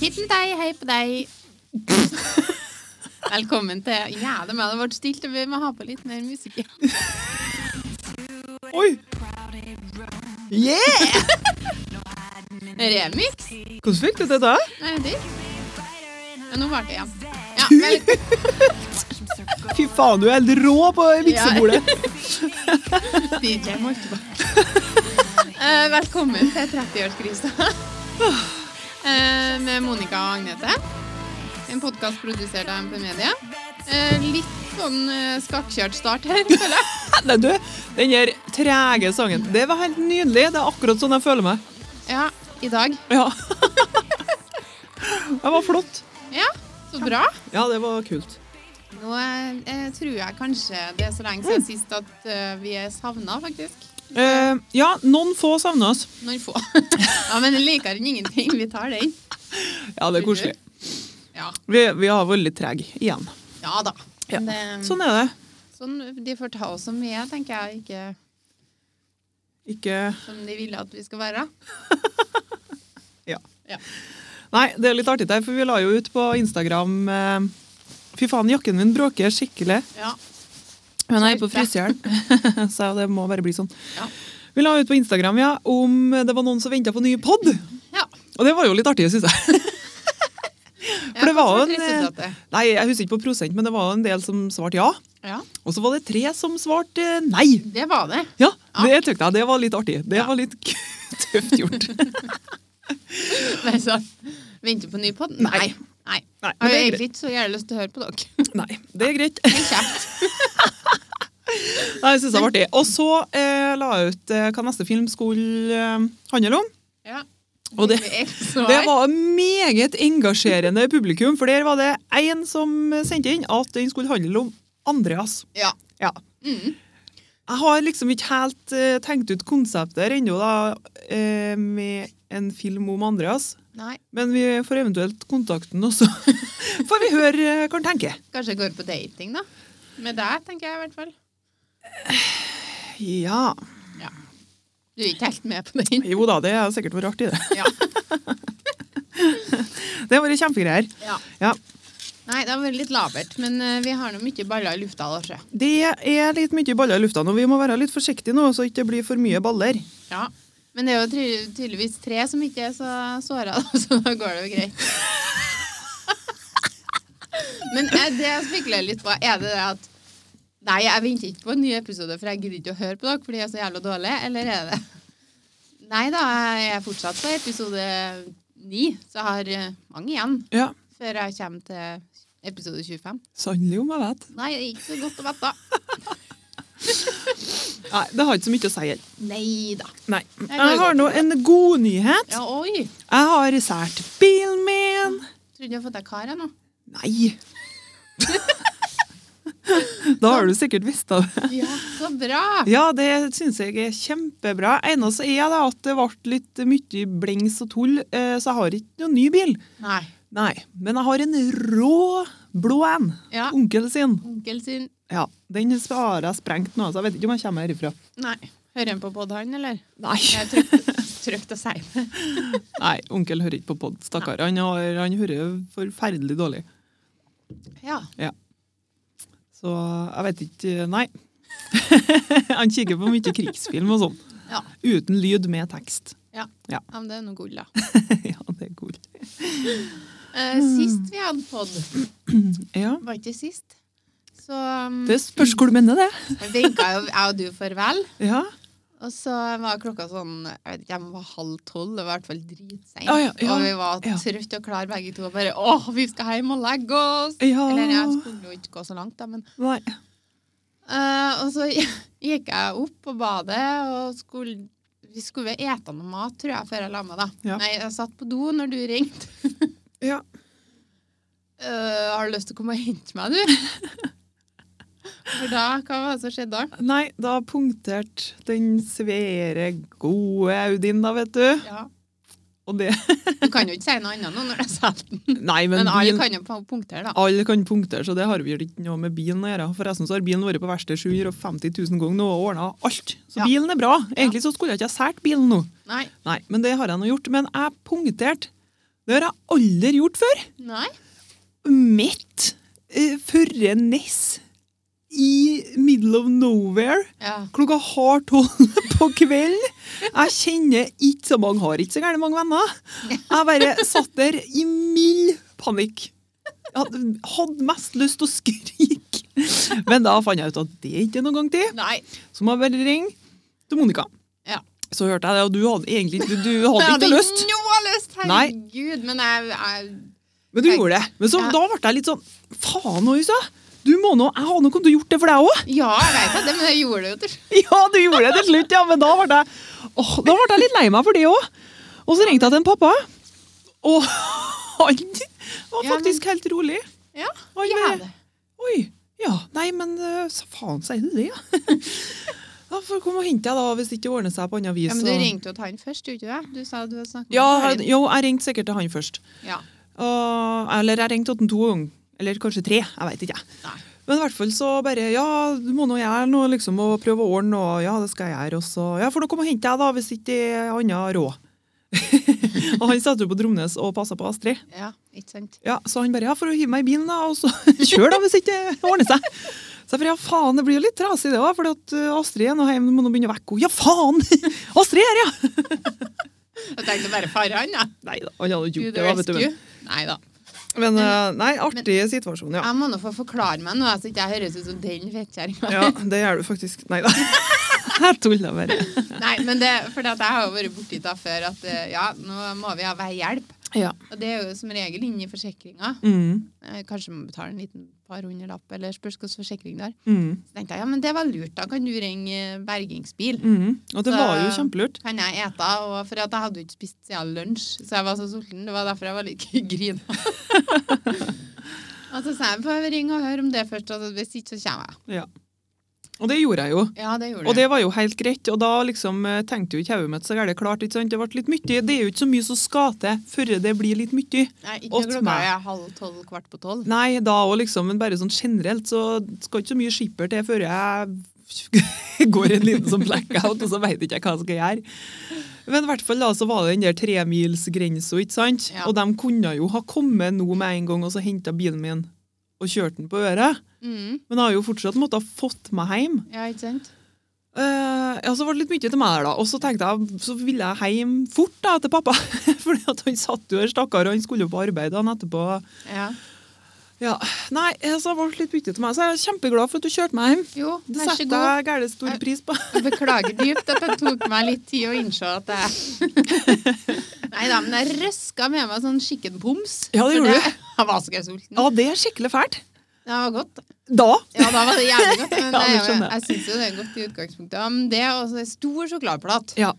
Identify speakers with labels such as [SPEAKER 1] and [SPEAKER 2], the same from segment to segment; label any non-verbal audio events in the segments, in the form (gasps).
[SPEAKER 1] Liten deg, hei på deg. Velkommen til Ja, det hadde vært stilt, og vi må ha på litt mer musikk.
[SPEAKER 2] Oi! Yeah!
[SPEAKER 1] Remix?
[SPEAKER 2] Hvordan fikk du det da?
[SPEAKER 1] Nei, det ja, Nå var det igjen. Ja, men
[SPEAKER 2] Fy faen, du er helt rå på miksebordet.
[SPEAKER 1] DJ Mortebakk. (laughs) Eh, velkommen til 30-årskrisa (laughs) Eh, med Monica og Agnete. En podkast produsert av MP Media. Eh, litt sånn eh, skakkjørt start her, føler jeg.
[SPEAKER 2] (laughs) Nei, du, den der trege sangen, det var helt nydelig. Det er akkurat sånn jeg føler meg.
[SPEAKER 1] Ja, i dag.
[SPEAKER 2] Ja. (laughs) Det var flott.
[SPEAKER 1] Ja, så bra.
[SPEAKER 2] Ja, det var kult.
[SPEAKER 1] Nå eh, tror jeg kanskje det er så lenge siden sist at eh, vi er savna, faktisk.
[SPEAKER 2] Eh, ja, noen få savner oss.
[SPEAKER 1] Noen få. (laughs) ja, men likere enn ingenting. Vi tar den.
[SPEAKER 2] Ja, det er koselig.
[SPEAKER 1] Ja,
[SPEAKER 2] Vi, vi har vært litt trege igjen.
[SPEAKER 1] ja da.
[SPEAKER 2] Ja,
[SPEAKER 1] Men, eh,
[SPEAKER 2] Sånn er det.
[SPEAKER 1] sånn, de får ta oss som vi er, tenker jeg. Ikke
[SPEAKER 2] Ikke
[SPEAKER 1] som de ville at vi skal være.
[SPEAKER 2] Ja.
[SPEAKER 1] Ja.
[SPEAKER 2] Nei, det er litt artig der, for vi la jo ut på Instagram eh, Fy faen, jakken min bråker skikkelig.
[SPEAKER 1] Ja.
[SPEAKER 2] Men jeg er på frysejern, (laughs) så det må bare bli sånn.
[SPEAKER 1] Ja.
[SPEAKER 2] Vi la ut på Instagram ja, om det var noen som venta på ny pod.
[SPEAKER 1] ja.
[SPEAKER 2] Og det var jo litt artig, syns jeg. (laughs)
[SPEAKER 1] Ja,
[SPEAKER 2] det
[SPEAKER 1] hva
[SPEAKER 2] var
[SPEAKER 1] som
[SPEAKER 2] jo en, eh,
[SPEAKER 1] er resultatet?
[SPEAKER 2] Nei, Jeg husker ikke på prosent, men det var jo en del som svarte ja.
[SPEAKER 1] Ja,
[SPEAKER 2] Og så var det tre som svarte eh, nei.
[SPEAKER 1] det var det. (laughs)
[SPEAKER 2] Ja,
[SPEAKER 1] Ja.
[SPEAKER 2] det tykte jeg. Det var litt artig. Det
[SPEAKER 1] Ja.
[SPEAKER 2] var litt (laughs) tøft gjort.
[SPEAKER 1] (laughs) Nei, så Venter på ny podd?
[SPEAKER 2] Nei.
[SPEAKER 1] Nei.
[SPEAKER 2] Nei,
[SPEAKER 1] Jeg
[SPEAKER 2] men
[SPEAKER 1] har
[SPEAKER 2] det er
[SPEAKER 1] egentlig ikke så gjerne lyst til å høre på dere. (laughs)
[SPEAKER 2] Nei, det er greit.
[SPEAKER 1] Men kjeft.
[SPEAKER 2] Nei, jeg synes det var artig. Og så eh, la jeg ut eh, hva neste film skulle eh, handle om.
[SPEAKER 1] Ja.
[SPEAKER 2] Og det-
[SPEAKER 1] Fikk vi ett svar.
[SPEAKER 2] Det var meget engasjerende publikum, for der var det én som sendte inn at den skulle handle om Andreas.
[SPEAKER 1] Ja.
[SPEAKER 2] Ja.
[SPEAKER 1] Mm.
[SPEAKER 2] Jeg har liksom ikke helt eh, tenkt ut konseptet her ennå, da, eh, med en film om Andreas.
[SPEAKER 1] Nei,
[SPEAKER 2] Men vi får eventuelt kontakten, og så (laughs) får vi høre eh, hva han tenker.
[SPEAKER 1] kanskje jeg går på dating, da. Med deg, tenker jeg i hvert fall.
[SPEAKER 2] Ja.
[SPEAKER 1] Du er ikke helt med (laughs) på den.
[SPEAKER 2] Jo da, det har sikkert vært artig, det.
[SPEAKER 1] Ja.
[SPEAKER 2] Det har vært kjempegreier.
[SPEAKER 1] ja.
[SPEAKER 2] Ja.
[SPEAKER 1] Nei, det har vært litt labert, men eh, vi har nå mye baller i lufta. Lars.
[SPEAKER 2] Det er litt mye baller i lufta, og vi må være litt forsiktige nå, så ikke det blir for mye baller.
[SPEAKER 1] Ja. Men det er jo ty- tydeligvis tre som ikke er så såra, så da (laughs) går det jo greit. (laughs) Men eh, det jeg spekulerer litt på, er det det at Nei, jeg venter ikke på en ny episode, for jeg gidder ikke å høre på dere fordi jeg er så jævla dårlig. Eller er det Nei da, jeg er fortsatt på episode ni, så jeg har eh, mange igjen
[SPEAKER 2] Ja,
[SPEAKER 1] før jeg kommer til episode 25.
[SPEAKER 2] sannelig om jeg vet.
[SPEAKER 1] Nei, det er ikke så godt å vite.
[SPEAKER 2] Nei, det har ikke så mye å si heller.
[SPEAKER 1] Nei da.
[SPEAKER 2] Nei.
[SPEAKER 1] går
[SPEAKER 2] Jeg har nå en god nyhet.
[SPEAKER 1] Ja, oi.
[SPEAKER 2] Jeg har sært bilen min.
[SPEAKER 1] Trodde jeg hadde fått deg kar jeg, nå.
[SPEAKER 2] Nei. (laughs) Da har du sikkert visst av det.
[SPEAKER 1] (laughs) Ja, så bra.
[SPEAKER 2] Ja, det syns jeg er kjempebra. Eneste er da at det ble litt mye blings og tull, eh, så jeg har ikke noen ny bil.
[SPEAKER 1] Nei.
[SPEAKER 2] Nei, men jeg har en rå blå en.
[SPEAKER 1] Ja.
[SPEAKER 2] Onkel sin.
[SPEAKER 1] Onkel sin
[SPEAKER 2] Ja, Den har jeg sprengt nå, så jeg vet ikke om jeg kommer herifra.
[SPEAKER 1] Nei. Hører han på podd, han, eller?
[SPEAKER 2] Nei.
[SPEAKER 1] (laughs) Jeg er trygt- trygt å si det.
[SPEAKER 2] Nei, onkel hører ikke på pod, stakkar. Han, har- han hører forferdelig dårlig.
[SPEAKER 1] Ja.
[SPEAKER 2] Så jeg vet ikke Nei. (laughs) han kikker på mye krigsfilm og sånn.
[SPEAKER 1] Ja.
[SPEAKER 2] Uten lyd, med tekst. (laughs)
[SPEAKER 1] ja, men det er noe (laughs) gull, da.
[SPEAKER 2] ja, det er cool.
[SPEAKER 1] Eh, sist vi hadde podd,
[SPEAKER 2] Ja.
[SPEAKER 1] var ikke sist, så um, (laughs)
[SPEAKER 2] Det spørs hvor du mener det.
[SPEAKER 1] vinka jo jeg og du farvel.
[SPEAKER 2] Ja,
[SPEAKER 1] Og så var klokka sånn jeg vet ikke, jeg var halv tolv, det var i hvert fall dritseint.
[SPEAKER 2] Ja, ja, ja.
[SPEAKER 1] Og vi var
[SPEAKER 2] Ja.
[SPEAKER 1] trøtte og klare begge to. Og bare 'Å, vi skal hjem og legge oss'.
[SPEAKER 2] ja.
[SPEAKER 1] Eller jeg skulle jo ikke gå så langt, da, men
[SPEAKER 2] Nei.
[SPEAKER 1] Eh, og så (laughs) gikk jeg opp på badet, og skulle, vi skulle vel ete noe mat, tror jeg, før jeg la meg. da.
[SPEAKER 2] Ja.
[SPEAKER 1] Nei, jeg satt på do når du ringte. (laughs)
[SPEAKER 2] Ja.
[SPEAKER 1] Eh, har du lyst til å komme og hente meg,
[SPEAKER 2] (laughs)
[SPEAKER 1] du? For da, hva var det som skjedde da?
[SPEAKER 2] Nei, da punkterte den svære, gode Audien, da, vet du.
[SPEAKER 1] Ja.
[SPEAKER 2] Og det (laughs)
[SPEAKER 1] Du kan jo ikke si noe annet nå når jeg solgte den.
[SPEAKER 2] Nei, men,
[SPEAKER 1] Men alle
[SPEAKER 2] bilen-
[SPEAKER 1] kan jo pu- punktere, da.
[SPEAKER 2] alle kan punktere, så det har vel ikke noe med bilen å gjøre. Forresten så har bilen vært på verksted 750 000 ganger nå og ordna alt. Så
[SPEAKER 1] Ja.
[SPEAKER 2] bilen er bra. Egentlig så skulle jeg ikke ha sært bilen nå.
[SPEAKER 1] Nei.
[SPEAKER 2] Nei, men det har jeg nå gjort. Men jeg punkterte Det har jeg aldri gjort før.
[SPEAKER 1] Nei.
[SPEAKER 2] Midt eh, førre Ness i middle of nowhere.
[SPEAKER 1] Ja.
[SPEAKER 2] Klokka halv tolv (laughs) på kvelden. Jeg kjenner ikke så mange, har ikke så gærent mange venner. Jeg bare satt der i mild panikk. Jeg Hadde hadde mest lyst til å skrike. Men da fant jeg ut at det ikke er noen gang til.
[SPEAKER 1] Nei.
[SPEAKER 2] Så må jeg bare ringe til Monica.
[SPEAKER 1] Ja.
[SPEAKER 2] Så hørte jeg det, og du hadde egentlig du, du
[SPEAKER 1] Jeg
[SPEAKER 2] hadde ikke
[SPEAKER 1] hadde
[SPEAKER 2] lyst.
[SPEAKER 1] Noe lyst,
[SPEAKER 2] Nei.
[SPEAKER 1] herregud. Men jeg, jeg
[SPEAKER 2] Men du gjorde det. Men så,
[SPEAKER 1] Ja.
[SPEAKER 2] da ble jeg litt sånn Faen, Øysa. Du må nå, jeg har nå kommet til å gjort det for deg òg.
[SPEAKER 1] Ja, jeg vet det, men jeg gjorde det jo til slutt.
[SPEAKER 2] (laughs) Ja, du gjorde det til slutt, ja, men da ble jeg, åh, da ble jeg litt lei meg for det òg. Og så ringte jeg til en pappa, og (laughs) han var
[SPEAKER 1] Ja, men-
[SPEAKER 2] faktisk helt rolig.
[SPEAKER 1] Ja,
[SPEAKER 2] Oi,
[SPEAKER 1] jeg
[SPEAKER 2] men-
[SPEAKER 1] gjør det.
[SPEAKER 2] Oi, ja, nei, men øh, så faen, sier du det? Ja. (laughs) Da får jeg komme og hente deg, da, hvis det ikke ordner seg på annet vis.
[SPEAKER 1] Ja, men du
[SPEAKER 2] og-
[SPEAKER 1] ringte jo til han først, gjorde du ikke det? Du sa du hadde snakket
[SPEAKER 2] ja,
[SPEAKER 1] med
[SPEAKER 2] jo, jeg ringte sikkert til han først.
[SPEAKER 1] Ja.
[SPEAKER 2] Og, eller jeg ringte til han to ganger. Eller kanskje tre, jeg veit ikke. jeg.
[SPEAKER 1] Nei.
[SPEAKER 2] Men i hvert fall så bare Ja, du må nå gjøre noe, liksom, og prøve å ordne noe. Ja, det skal jeg gjøre. Og så Ja, får du komme og hente deg, da, hvis ikke det er annet råd. (laughs) og han satt jo på Dromnes og passa på Astrid.
[SPEAKER 1] ja, ikke sant?
[SPEAKER 2] Ja, Så han bare Ja, får du hive meg i bilen, da, og så (laughs) kjør, da, hvis ikke det ordner seg. Så jeg bare, ja, faen, det blir jo litt trasig det òg, for at uh, Astrid er nå hjemme, du må nå begynne å vekke henne. Ja, faen! (laughs) Astrid er her, ja!
[SPEAKER 1] Jeg tenkte bare far han, ja.
[SPEAKER 2] Nei da, han hadde
[SPEAKER 1] Do
[SPEAKER 2] ikke gjort
[SPEAKER 1] the
[SPEAKER 2] det, da, vet du.
[SPEAKER 1] rescue. Nei da.
[SPEAKER 2] Men, men eh, nei, artig situasjon, ja.
[SPEAKER 1] Jeg må nå få forklare meg noe, så ikke jeg høres ut som den
[SPEAKER 2] (laughs)
[SPEAKER 1] fettkjerringa.
[SPEAKER 2] Ja, det gjør du faktisk. Nei da. (laughs) Jeg tuller bare.
[SPEAKER 1] Nei, men det, for at jeg har jo vært borti det før at eh, ja, nå må vi ha veihjelp.
[SPEAKER 2] Ja.
[SPEAKER 1] Og det er jo som regel inni forsikringa.
[SPEAKER 2] Mm,
[SPEAKER 1] Eh, Kanskje man betaler en liten par hundrelapp, eller spørs hvilken forsikring du har.
[SPEAKER 2] mm,
[SPEAKER 1] Så tenkte jeg ja, men det var lurt, da kan du ringe eh, bergingsbil.
[SPEAKER 2] mm. Og det
[SPEAKER 1] Så-
[SPEAKER 2] var jo kjempelurt.
[SPEAKER 1] Kan jeg ete? Og for at jeg hadde jo ikke spist siden lunsj, så jeg var så sulten. Det var derfor jeg var litt (laughs) grina. og så sa jeg får jeg ringe og høre om det først, og så hvis ikke så kommer jeg.
[SPEAKER 2] Ja. Og det gjorde jeg jo.
[SPEAKER 1] Ja, det gjorde
[SPEAKER 2] Og det var jo helt greit, og da liksom eh, tenkte jo ikke hodet mitt så gærent klart. ikke sant? Det ble litt mye. Det er jo ikke så mye som skal til før det blir litt mye.
[SPEAKER 1] Nei, ikke
[SPEAKER 2] åt
[SPEAKER 1] klokka
[SPEAKER 2] meg.
[SPEAKER 1] er halv tolv, kvart på tolv.
[SPEAKER 2] Nei, da òg liksom, men bare sånn generelt så skal ikke så mye skipper til før jeg (laughs) går en liten sånn blackout, og så veit ikke jeg hva jeg skal gjøre. Men i hvert fall da, så var det den der tremilsgrensa, ikke sant?
[SPEAKER 1] Ja.
[SPEAKER 2] Og de kunne jo ha kommet nå med en gang og så henta bilen min og kjørt den på øret.
[SPEAKER 1] Mm.
[SPEAKER 2] Men jeg har jo fortsatt måttet ha fått meg hjem.
[SPEAKER 1] Ja, ikke sant?
[SPEAKER 2] Eh, ja, så var det litt mye til meg der, da. Og så tenkte jeg, så ville jeg hjem fort da, til pappa. (laughs) For han satt jo her, stakkar, og han skulle jo på arbeid da, han etterpå.
[SPEAKER 1] Ja.
[SPEAKER 2] Ja, nei, altså, det ble litt bytte til meg, så jeg er kjempeglad for at du kjørte meg hjem.
[SPEAKER 1] Jo,
[SPEAKER 2] Det
[SPEAKER 1] vær så
[SPEAKER 2] setter
[SPEAKER 1] god.
[SPEAKER 2] jeg gærent stor pris på.
[SPEAKER 1] Jeg beklager dypt at det tok meg litt tid å innse at jeg (laughs) Nei da, men jeg røska med meg sånn skikkenboms.
[SPEAKER 2] Ja, det gjorde
[SPEAKER 1] du. (laughs) Jeg var så gøy sulten.
[SPEAKER 2] Ja, det er skikkelig fælt.
[SPEAKER 1] Det var godt.
[SPEAKER 2] Da?
[SPEAKER 1] Ja, da var det jævlig godt. Men
[SPEAKER 2] (laughs) Ja,
[SPEAKER 1] det, er
[SPEAKER 2] det
[SPEAKER 1] jo-
[SPEAKER 2] skjønner jeg.
[SPEAKER 1] jeg syns jo det er godt i utgangspunktet. Ja, Men det er også en stor sjokoladeplate
[SPEAKER 2] Ja.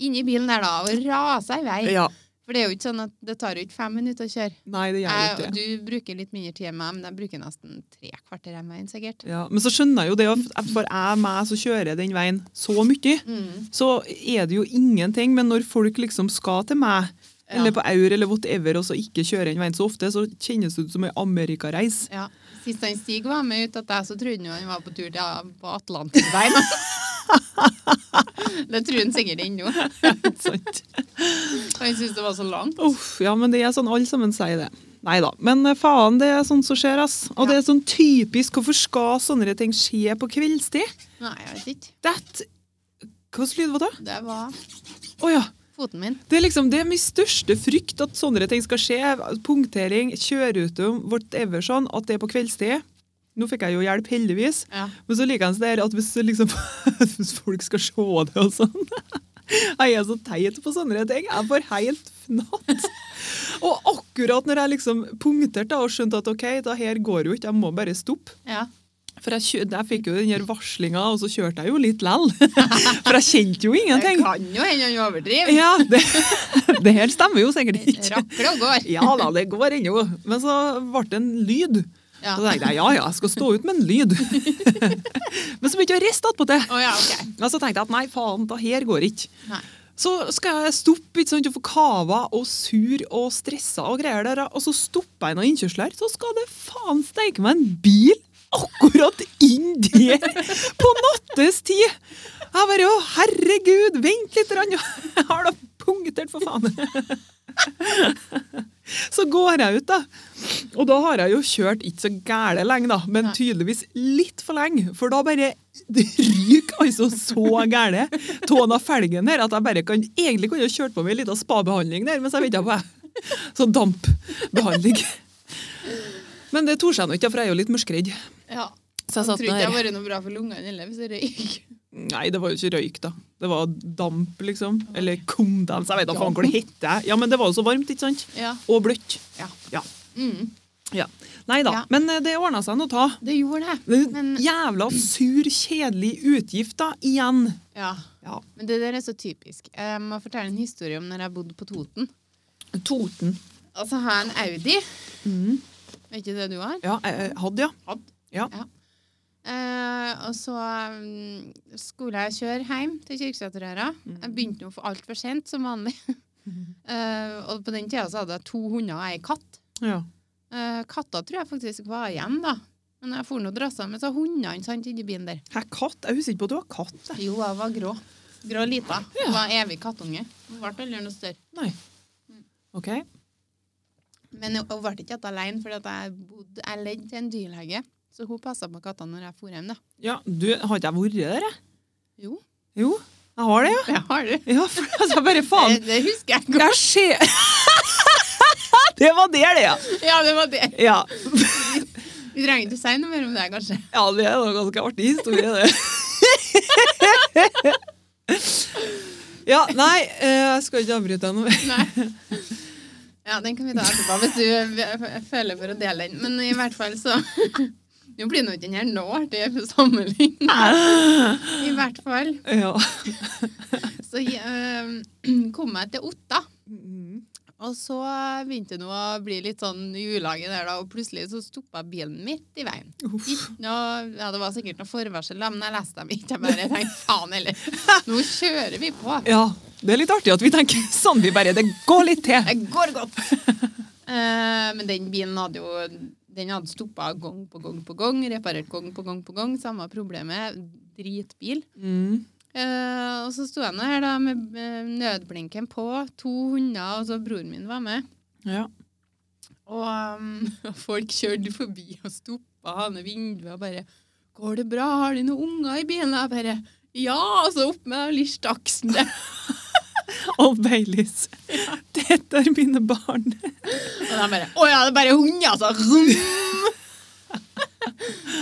[SPEAKER 1] inni bilen der, da, og rasa i vei.
[SPEAKER 2] ja.
[SPEAKER 1] For det er jo ikke sånn at det tar jo ikke fem minutter å kjøre.
[SPEAKER 2] Nei, det gjør
[SPEAKER 1] Jeg,
[SPEAKER 2] ikke
[SPEAKER 1] og
[SPEAKER 2] det.
[SPEAKER 1] du bruker litt mindre tid enn meg, men jeg bruker nesten tre kvarter den veien, sikkert.
[SPEAKER 2] Ja, men så skjønner jeg jo det at for jeg meg som kjører den veien så mye,
[SPEAKER 1] Mm.
[SPEAKER 2] så er det jo ingenting. Men når folk liksom skal til meg,
[SPEAKER 1] Ja.
[SPEAKER 2] eller på Aur eller whatever, og så ikke kjører den veien så ofte, så kjennes det ut som ei amerikareis.
[SPEAKER 1] (laughs) Ja. Sist han Stig var med ut, at jeg så trodde han han var på tur til ja, på Atlanterveien. (laughs) det tror han sikkert ennå.
[SPEAKER 2] Ikke sant?
[SPEAKER 1] Han syntes det var så langt.
[SPEAKER 2] Uff, ja, men det er sånn alle sammen sier det. Nei da. Men eh, faen, det er sånn som skjer, ass. Og
[SPEAKER 1] Ja.
[SPEAKER 2] det er sånn typisk. Hvorfor skal sånne ting skje på kveldstid?
[SPEAKER 1] Nei, jeg vet ikke.
[SPEAKER 2] That Hva slags lyd var det?
[SPEAKER 1] Det var
[SPEAKER 2] Å ja.
[SPEAKER 1] foten min.
[SPEAKER 2] Det er liksom det er min største frykt at sånne ting skal skje. Punktering, kjørerutum, whatever sånn. At det er på kveldstid. Nå fikk jeg jo hjelp, heldigvis.
[SPEAKER 1] Ja.
[SPEAKER 2] Men så liker jeg det der at hvis, det liksom, (laughs) hvis folk skal se det og sånn Jeg er så teit på sånne ting. Jeg får helt fnatt. Og akkurat når jeg liksom punkterte da og skjønte at ok, det her går jo ikke, jeg må bare stoppe.
[SPEAKER 1] ja.
[SPEAKER 2] For jeg, kjø- jeg fikk jo den her varslinga, og så kjørte jeg jo litt lell. (laughs) For jeg kjente jo
[SPEAKER 1] Det
[SPEAKER 2] ingenting.
[SPEAKER 1] kan jo hende han overdriver.
[SPEAKER 2] Ja, det, (laughs) det her stemmer jo sikkert ikke.
[SPEAKER 1] Rakler og går.
[SPEAKER 2] Ja da, det går ennå. Men så ble det en lyd.
[SPEAKER 1] Ja.
[SPEAKER 2] Så tenkte jeg ja ja, jeg skal stå ut med en lyd. (laughs) Men så begynte jeg å riste attpåtil.
[SPEAKER 1] Å ja, ok.
[SPEAKER 2] Men så tenkte jeg at nei, faen, det her går ikke.
[SPEAKER 1] Nei.
[SPEAKER 2] Så skal jeg stoppe, ikke sant, og få kava og sur og stressa og greier der, og så stopper jeg noen innkjørsler, så skal det faen steike meg en bil akkurat inn der på nattes tid. (laughs) Jeg bare, å herregud, vent litt, rann. jeg har da punktert for faen. Så går jeg ut, da. Og da har jeg jo kjørt ikke så gæle lenge, da, men
[SPEAKER 1] Nei.
[SPEAKER 2] tydeligvis litt for lenge. For da bare (laughs) det ryker altså så gæle tåen av felgen her at jeg bare kan egentlig kunne kjørt på med en liten spabehandling der mens jeg venta på (laughs) deg. Sånn dampbehandling. Men det torde jeg nå ikke, for jeg er jo litt mørkredd.
[SPEAKER 1] Ja.
[SPEAKER 2] Så
[SPEAKER 1] Jeg
[SPEAKER 2] jeg satt
[SPEAKER 1] tror ikke det
[SPEAKER 2] der.
[SPEAKER 1] har vært noe bra for lungene heller hvis det røyker.
[SPEAKER 2] Nei, det var jo ikke røyk, da. Det var damp, liksom. Eller kondens. Jeg vet da faen hva det heter. Ja, men det var jo så varmt, ikke sant?
[SPEAKER 1] Ja.
[SPEAKER 2] Og bløtt.
[SPEAKER 1] Ja.
[SPEAKER 2] Ja.
[SPEAKER 1] Mm.
[SPEAKER 2] ja. Nei da.
[SPEAKER 1] Ja.
[SPEAKER 2] Men eh, det ordna seg nå, ta.
[SPEAKER 1] Det gjorde det.
[SPEAKER 2] Det er en
[SPEAKER 1] Men,
[SPEAKER 2] Jævla sur, kjedelig utgift, da. Igjen.
[SPEAKER 1] ja.
[SPEAKER 2] Ja.
[SPEAKER 1] Men det der er så typisk. Jeg må fortelle en historie om når jeg bodde på Toten.
[SPEAKER 2] Toten.
[SPEAKER 1] Altså, jeg har en Audi.
[SPEAKER 2] Mhm.
[SPEAKER 1] Vet ikke det du har?
[SPEAKER 2] Ja, eh, hadde, ja.
[SPEAKER 1] Hatt.
[SPEAKER 2] Ja.
[SPEAKER 1] Eh, og så mm, skulle jeg kjøre hjem til Kirksæterøra. Jeg begynte nå for altfor sent, som (laughs) vanlig. Eh, og på den tida så hadde jeg to hunder og ei katt.
[SPEAKER 2] ja.
[SPEAKER 1] Uh, katta tror jeg faktisk var igjen, da. Men jeg for nå drassa med så hundene sant, inni bilen der.
[SPEAKER 2] Hæ, katt? Jeg husker ikke på at du har katt. Jeg.
[SPEAKER 1] Jo, jeg var grå. Grå lita. Jeg Var evig kattunge. Hun ble aldri noe større.
[SPEAKER 2] Nei. OK.
[SPEAKER 1] Men hun hun ble ikke igjen alene, for jeg bodde jeg ledde til en dyrlege. Så hun passa på kattene når jeg for hjem, da.
[SPEAKER 2] Ja, du, har ikke jeg vært der, jeg?
[SPEAKER 1] Jo,
[SPEAKER 2] Jo, jeg har det,
[SPEAKER 1] (laughs)
[SPEAKER 2] ja.
[SPEAKER 1] jeg har det.
[SPEAKER 2] Ja, for altså, bare faen.
[SPEAKER 1] Det, det husker jeg godt.
[SPEAKER 2] Jeg ser (laughs) Det var der, det, ja.
[SPEAKER 1] Ja, det var det.
[SPEAKER 2] Ja,
[SPEAKER 1] Vi trenger ikke si noe mer om det, kanskje.
[SPEAKER 2] ja det er en ganske artig historie, (laughs) det. Ja, nei, eh, jeg skal ikke avbryte deg noe mer.
[SPEAKER 1] Nei. Ja, den kan vi ta etterpå hvis du eh, føler for å dele den. Men i hvert fall så (laughs) Nå blir nå ikke den her nå artig for sammenligning. I hvert fall
[SPEAKER 2] Ja.
[SPEAKER 1] så eh, kom jeg til Otta. Og så begynte det nå å bli litt sånn ulage der, da, og plutselig så stoppa bilen midt i veien.
[SPEAKER 2] Uff.
[SPEAKER 1] Ikke noe- ja, det var sikkert noe forvarsel, da, men jeg leste dem ikke. Jeg bare tenkte faen heller, nå kjører vi på.
[SPEAKER 2] ja. Det er litt artig at vi tenker sånn. Vi bare Det går litt til.
[SPEAKER 1] Det går godt. Eh, men den bilen hadde jo den hadde stoppa gang på gang på gang, reparert gang på gang på gang. Samme problemet. Dritbil.
[SPEAKER 2] Mm.
[SPEAKER 1] Eh, og så sto jeg nå her da med eh, nødblinken på, to hunder, og så broren min var med.
[SPEAKER 2] Ja.
[SPEAKER 1] (laughs) Og um, folk kjørte forbi og stoppa han i vinduet og bare 'Går det bra? Har de noen unger i bilen?' Og jeg bare 'Ja!' Og så opp med lystaksen der.
[SPEAKER 2] Og Baileys. Dette er mine barn.
[SPEAKER 1] Og de bare 'Å ja, det er bare hunder', altså. (laughs)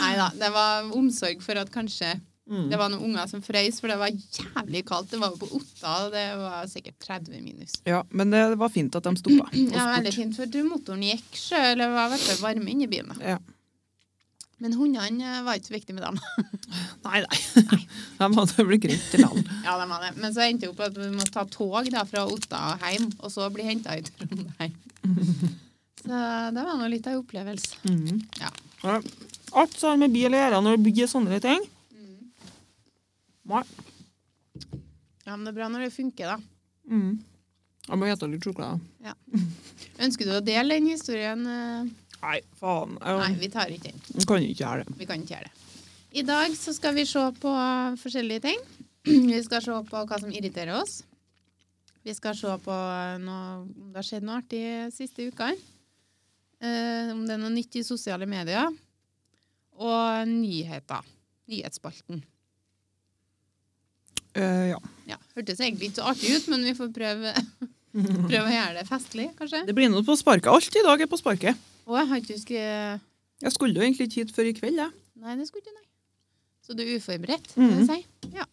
[SPEAKER 1] Nei da. Det var omsorg for at kanskje det var noen unger som frøys, for det var jævlig kaldt. Det var jo på Otta, og det var sikkert 30 minus.
[SPEAKER 2] Ja, men det var fint at de stoppa.
[SPEAKER 1] Det var veldig fint, for du, motoren gikk sjøl, det var i hvert fall varme inni bilen. da.
[SPEAKER 2] Ja.
[SPEAKER 1] Men hundene eh, var ikke så viktig med dem.
[SPEAKER 2] Nei, (laughs) nei. De hadde blitt greit til land.
[SPEAKER 1] (laughs) Ja, de var det. Men så endte det opp at vi måtte ta tog da, fra Otta og hjem, og så bli henta i Trondheim. (laughs) Så det var nå litt av en opplevelse. Ja.
[SPEAKER 2] Ja. Alt som har med bil å gjøre når det blir sånne ting.
[SPEAKER 1] Mm.
[SPEAKER 2] Nei.
[SPEAKER 1] ja, men det er bra når det funker, da.
[SPEAKER 2] Mm. Jeg må spise litt sjokolade.
[SPEAKER 1] Ønsker du å dele den historien? eh?
[SPEAKER 2] Nei, faen.
[SPEAKER 1] Nei,
[SPEAKER 2] Jeg
[SPEAKER 1] vi tar ikke den.
[SPEAKER 2] kan ikke gjøre det.
[SPEAKER 1] Vi kan ikke gjøre det. I dag så skal vi se på forskjellige ting. (clears throat) Vi skal se på hva som irriterer oss. Vi skal se på noe, om det har skjedd noe artig de siste ukene. Eh, om det er noe nytt i sosiale medier. Og nyheter. Nyhetsspalten.
[SPEAKER 2] Eh, ja.
[SPEAKER 1] Ja, Hørtes egentlig ikke så artig ut, men vi får prøve, (laughs) prøve å gjøre det festlig, kanskje.
[SPEAKER 2] Det blir noe på sparket. Alt i dag er på sparket.
[SPEAKER 1] Å, jeg har ikke skrevet
[SPEAKER 2] Jeg skulle jo egentlig ikke hit før i kveld. Jeg.
[SPEAKER 1] Nei, det skulle ikke, nei. Så du er uforberedt,
[SPEAKER 2] Mhm.
[SPEAKER 1] vil jeg si.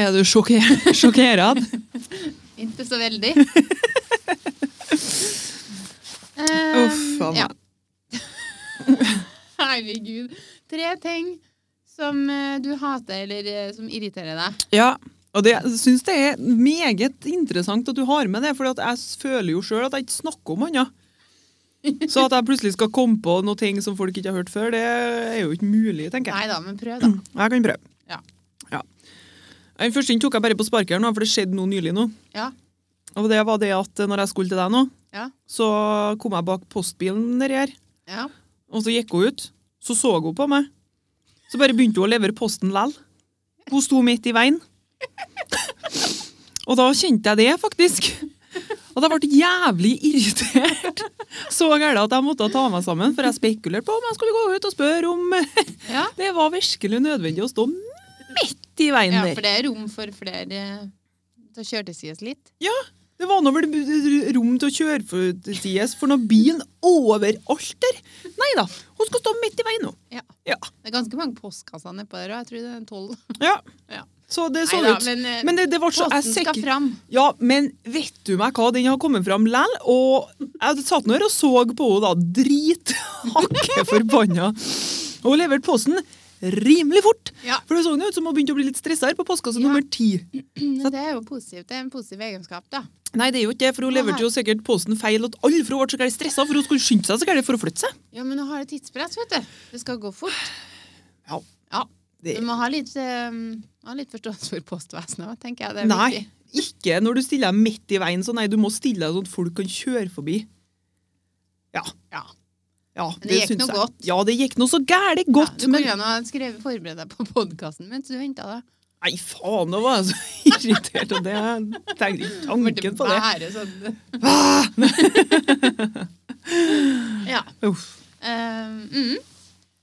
[SPEAKER 2] Er du sjokker- (laughs) sjokkeret?
[SPEAKER 1] Ikke så
[SPEAKER 2] (laughs)
[SPEAKER 1] veldig.
[SPEAKER 2] Uff a
[SPEAKER 1] um,
[SPEAKER 2] meg.
[SPEAKER 1] ja. (laughs) Herregud. Tre ting som eh, du hater, eller eh, som irriterer deg.
[SPEAKER 2] Ja. Og det, jeg syns det er meget interessant at du har med det, for jeg føler jo sjøl at jeg ikke snakker om annet. Så at jeg plutselig skal komme på noe ting som folk ikke har hørt før, det er jo ikke mulig, tenker jeg.
[SPEAKER 1] Nei da, men prøv, da.
[SPEAKER 2] Jeg kan prøve.
[SPEAKER 1] Ja.
[SPEAKER 2] Ja. Den første den tok jeg bare på sparket, her nå, for det skjedde noe nylig nå.
[SPEAKER 1] Ja.
[SPEAKER 2] Og det var det at når jeg skulle til deg nå,
[SPEAKER 1] Ja.
[SPEAKER 2] så kom jeg bak postbilen nedi her,
[SPEAKER 1] ja.
[SPEAKER 2] og så gikk hun ut. Så så hun på meg. Så bare begynte hun å levere posten lell. Hun sto midt i veien. Og da kjente jeg det, faktisk. Og jeg ble jævlig irritert. Så gæren at jeg måtte ta meg sammen, for jeg spekulerte på om jeg skulle gå ut og spørre om
[SPEAKER 1] Ja.
[SPEAKER 2] Det var virkelig nødvendig å stå midt i veien
[SPEAKER 1] ja,
[SPEAKER 2] der.
[SPEAKER 1] for det er rom for flere eh, til å kjøre til sides litt.
[SPEAKER 2] Det var nå vel rom til å kjøre for sies for noe bil overalt der. Nei da, hun skal stå midt i veien nå.
[SPEAKER 1] Det er ganske mange postkasser nedpå der òg. Jeg tror det er tolv.
[SPEAKER 2] Ja.
[SPEAKER 1] Ja.
[SPEAKER 2] Så det så
[SPEAKER 1] Neida,
[SPEAKER 2] ut.
[SPEAKER 1] men, eh,
[SPEAKER 2] Men det, det var så jeg
[SPEAKER 1] Posten skal
[SPEAKER 2] sikker-
[SPEAKER 1] fram.
[SPEAKER 2] Ja, men vet du meg hva, den har kommet fram lell, og jeg satt nå her og så på henne da, drithakke
[SPEAKER 1] (laughs)
[SPEAKER 2] forbanna. Og hun leverte posten rimelig fort,
[SPEAKER 1] Ja.
[SPEAKER 2] for det så nå ut som hun begynte å bli litt stressa her på postkasse
[SPEAKER 1] Ja.
[SPEAKER 2] nummer ti.
[SPEAKER 1] Men det er jo positivt. Det er en positiv egenskap, da.
[SPEAKER 2] Nei, det er jo ikke det, for hun
[SPEAKER 1] Nei.
[SPEAKER 2] leverte jo sikkert posten feil åt alle, for hun ble så gærent stressa, for hun skulle skynde seg så gærent for å flytte seg.
[SPEAKER 1] Ja, men nå har du tidspress, vet du. Det skal gå fort.
[SPEAKER 2] Ja.
[SPEAKER 1] Ja.
[SPEAKER 2] Det-
[SPEAKER 1] Du må ha litt, eh, ha litt forståelse for postvesenet òg, tenker jeg. Det er
[SPEAKER 2] Nei,
[SPEAKER 1] viktig.
[SPEAKER 2] ikke når du stiller deg midt i veien, så nei, du må stille deg sånn at folk kan kjøre forbi. Ja.
[SPEAKER 1] Ja.
[SPEAKER 2] Ja,
[SPEAKER 1] det gikk
[SPEAKER 2] syns
[SPEAKER 1] noe
[SPEAKER 2] jeg.
[SPEAKER 1] godt.
[SPEAKER 2] Ja, det gikk noe så gærent
[SPEAKER 1] Ja,
[SPEAKER 2] godt.
[SPEAKER 1] du
[SPEAKER 2] men
[SPEAKER 1] kunne jo ha skrevet forberedt deg på podkasten mens du venta, da.
[SPEAKER 2] Nei, faen, nå var jeg så (laughs) irritert av det. Jeg tenkte ikke
[SPEAKER 1] Ble det
[SPEAKER 2] tanken på det.
[SPEAKER 1] bare
[SPEAKER 2] (laughs)
[SPEAKER 1] Sånn. ja.
[SPEAKER 2] Uff.
[SPEAKER 1] Eh, mm.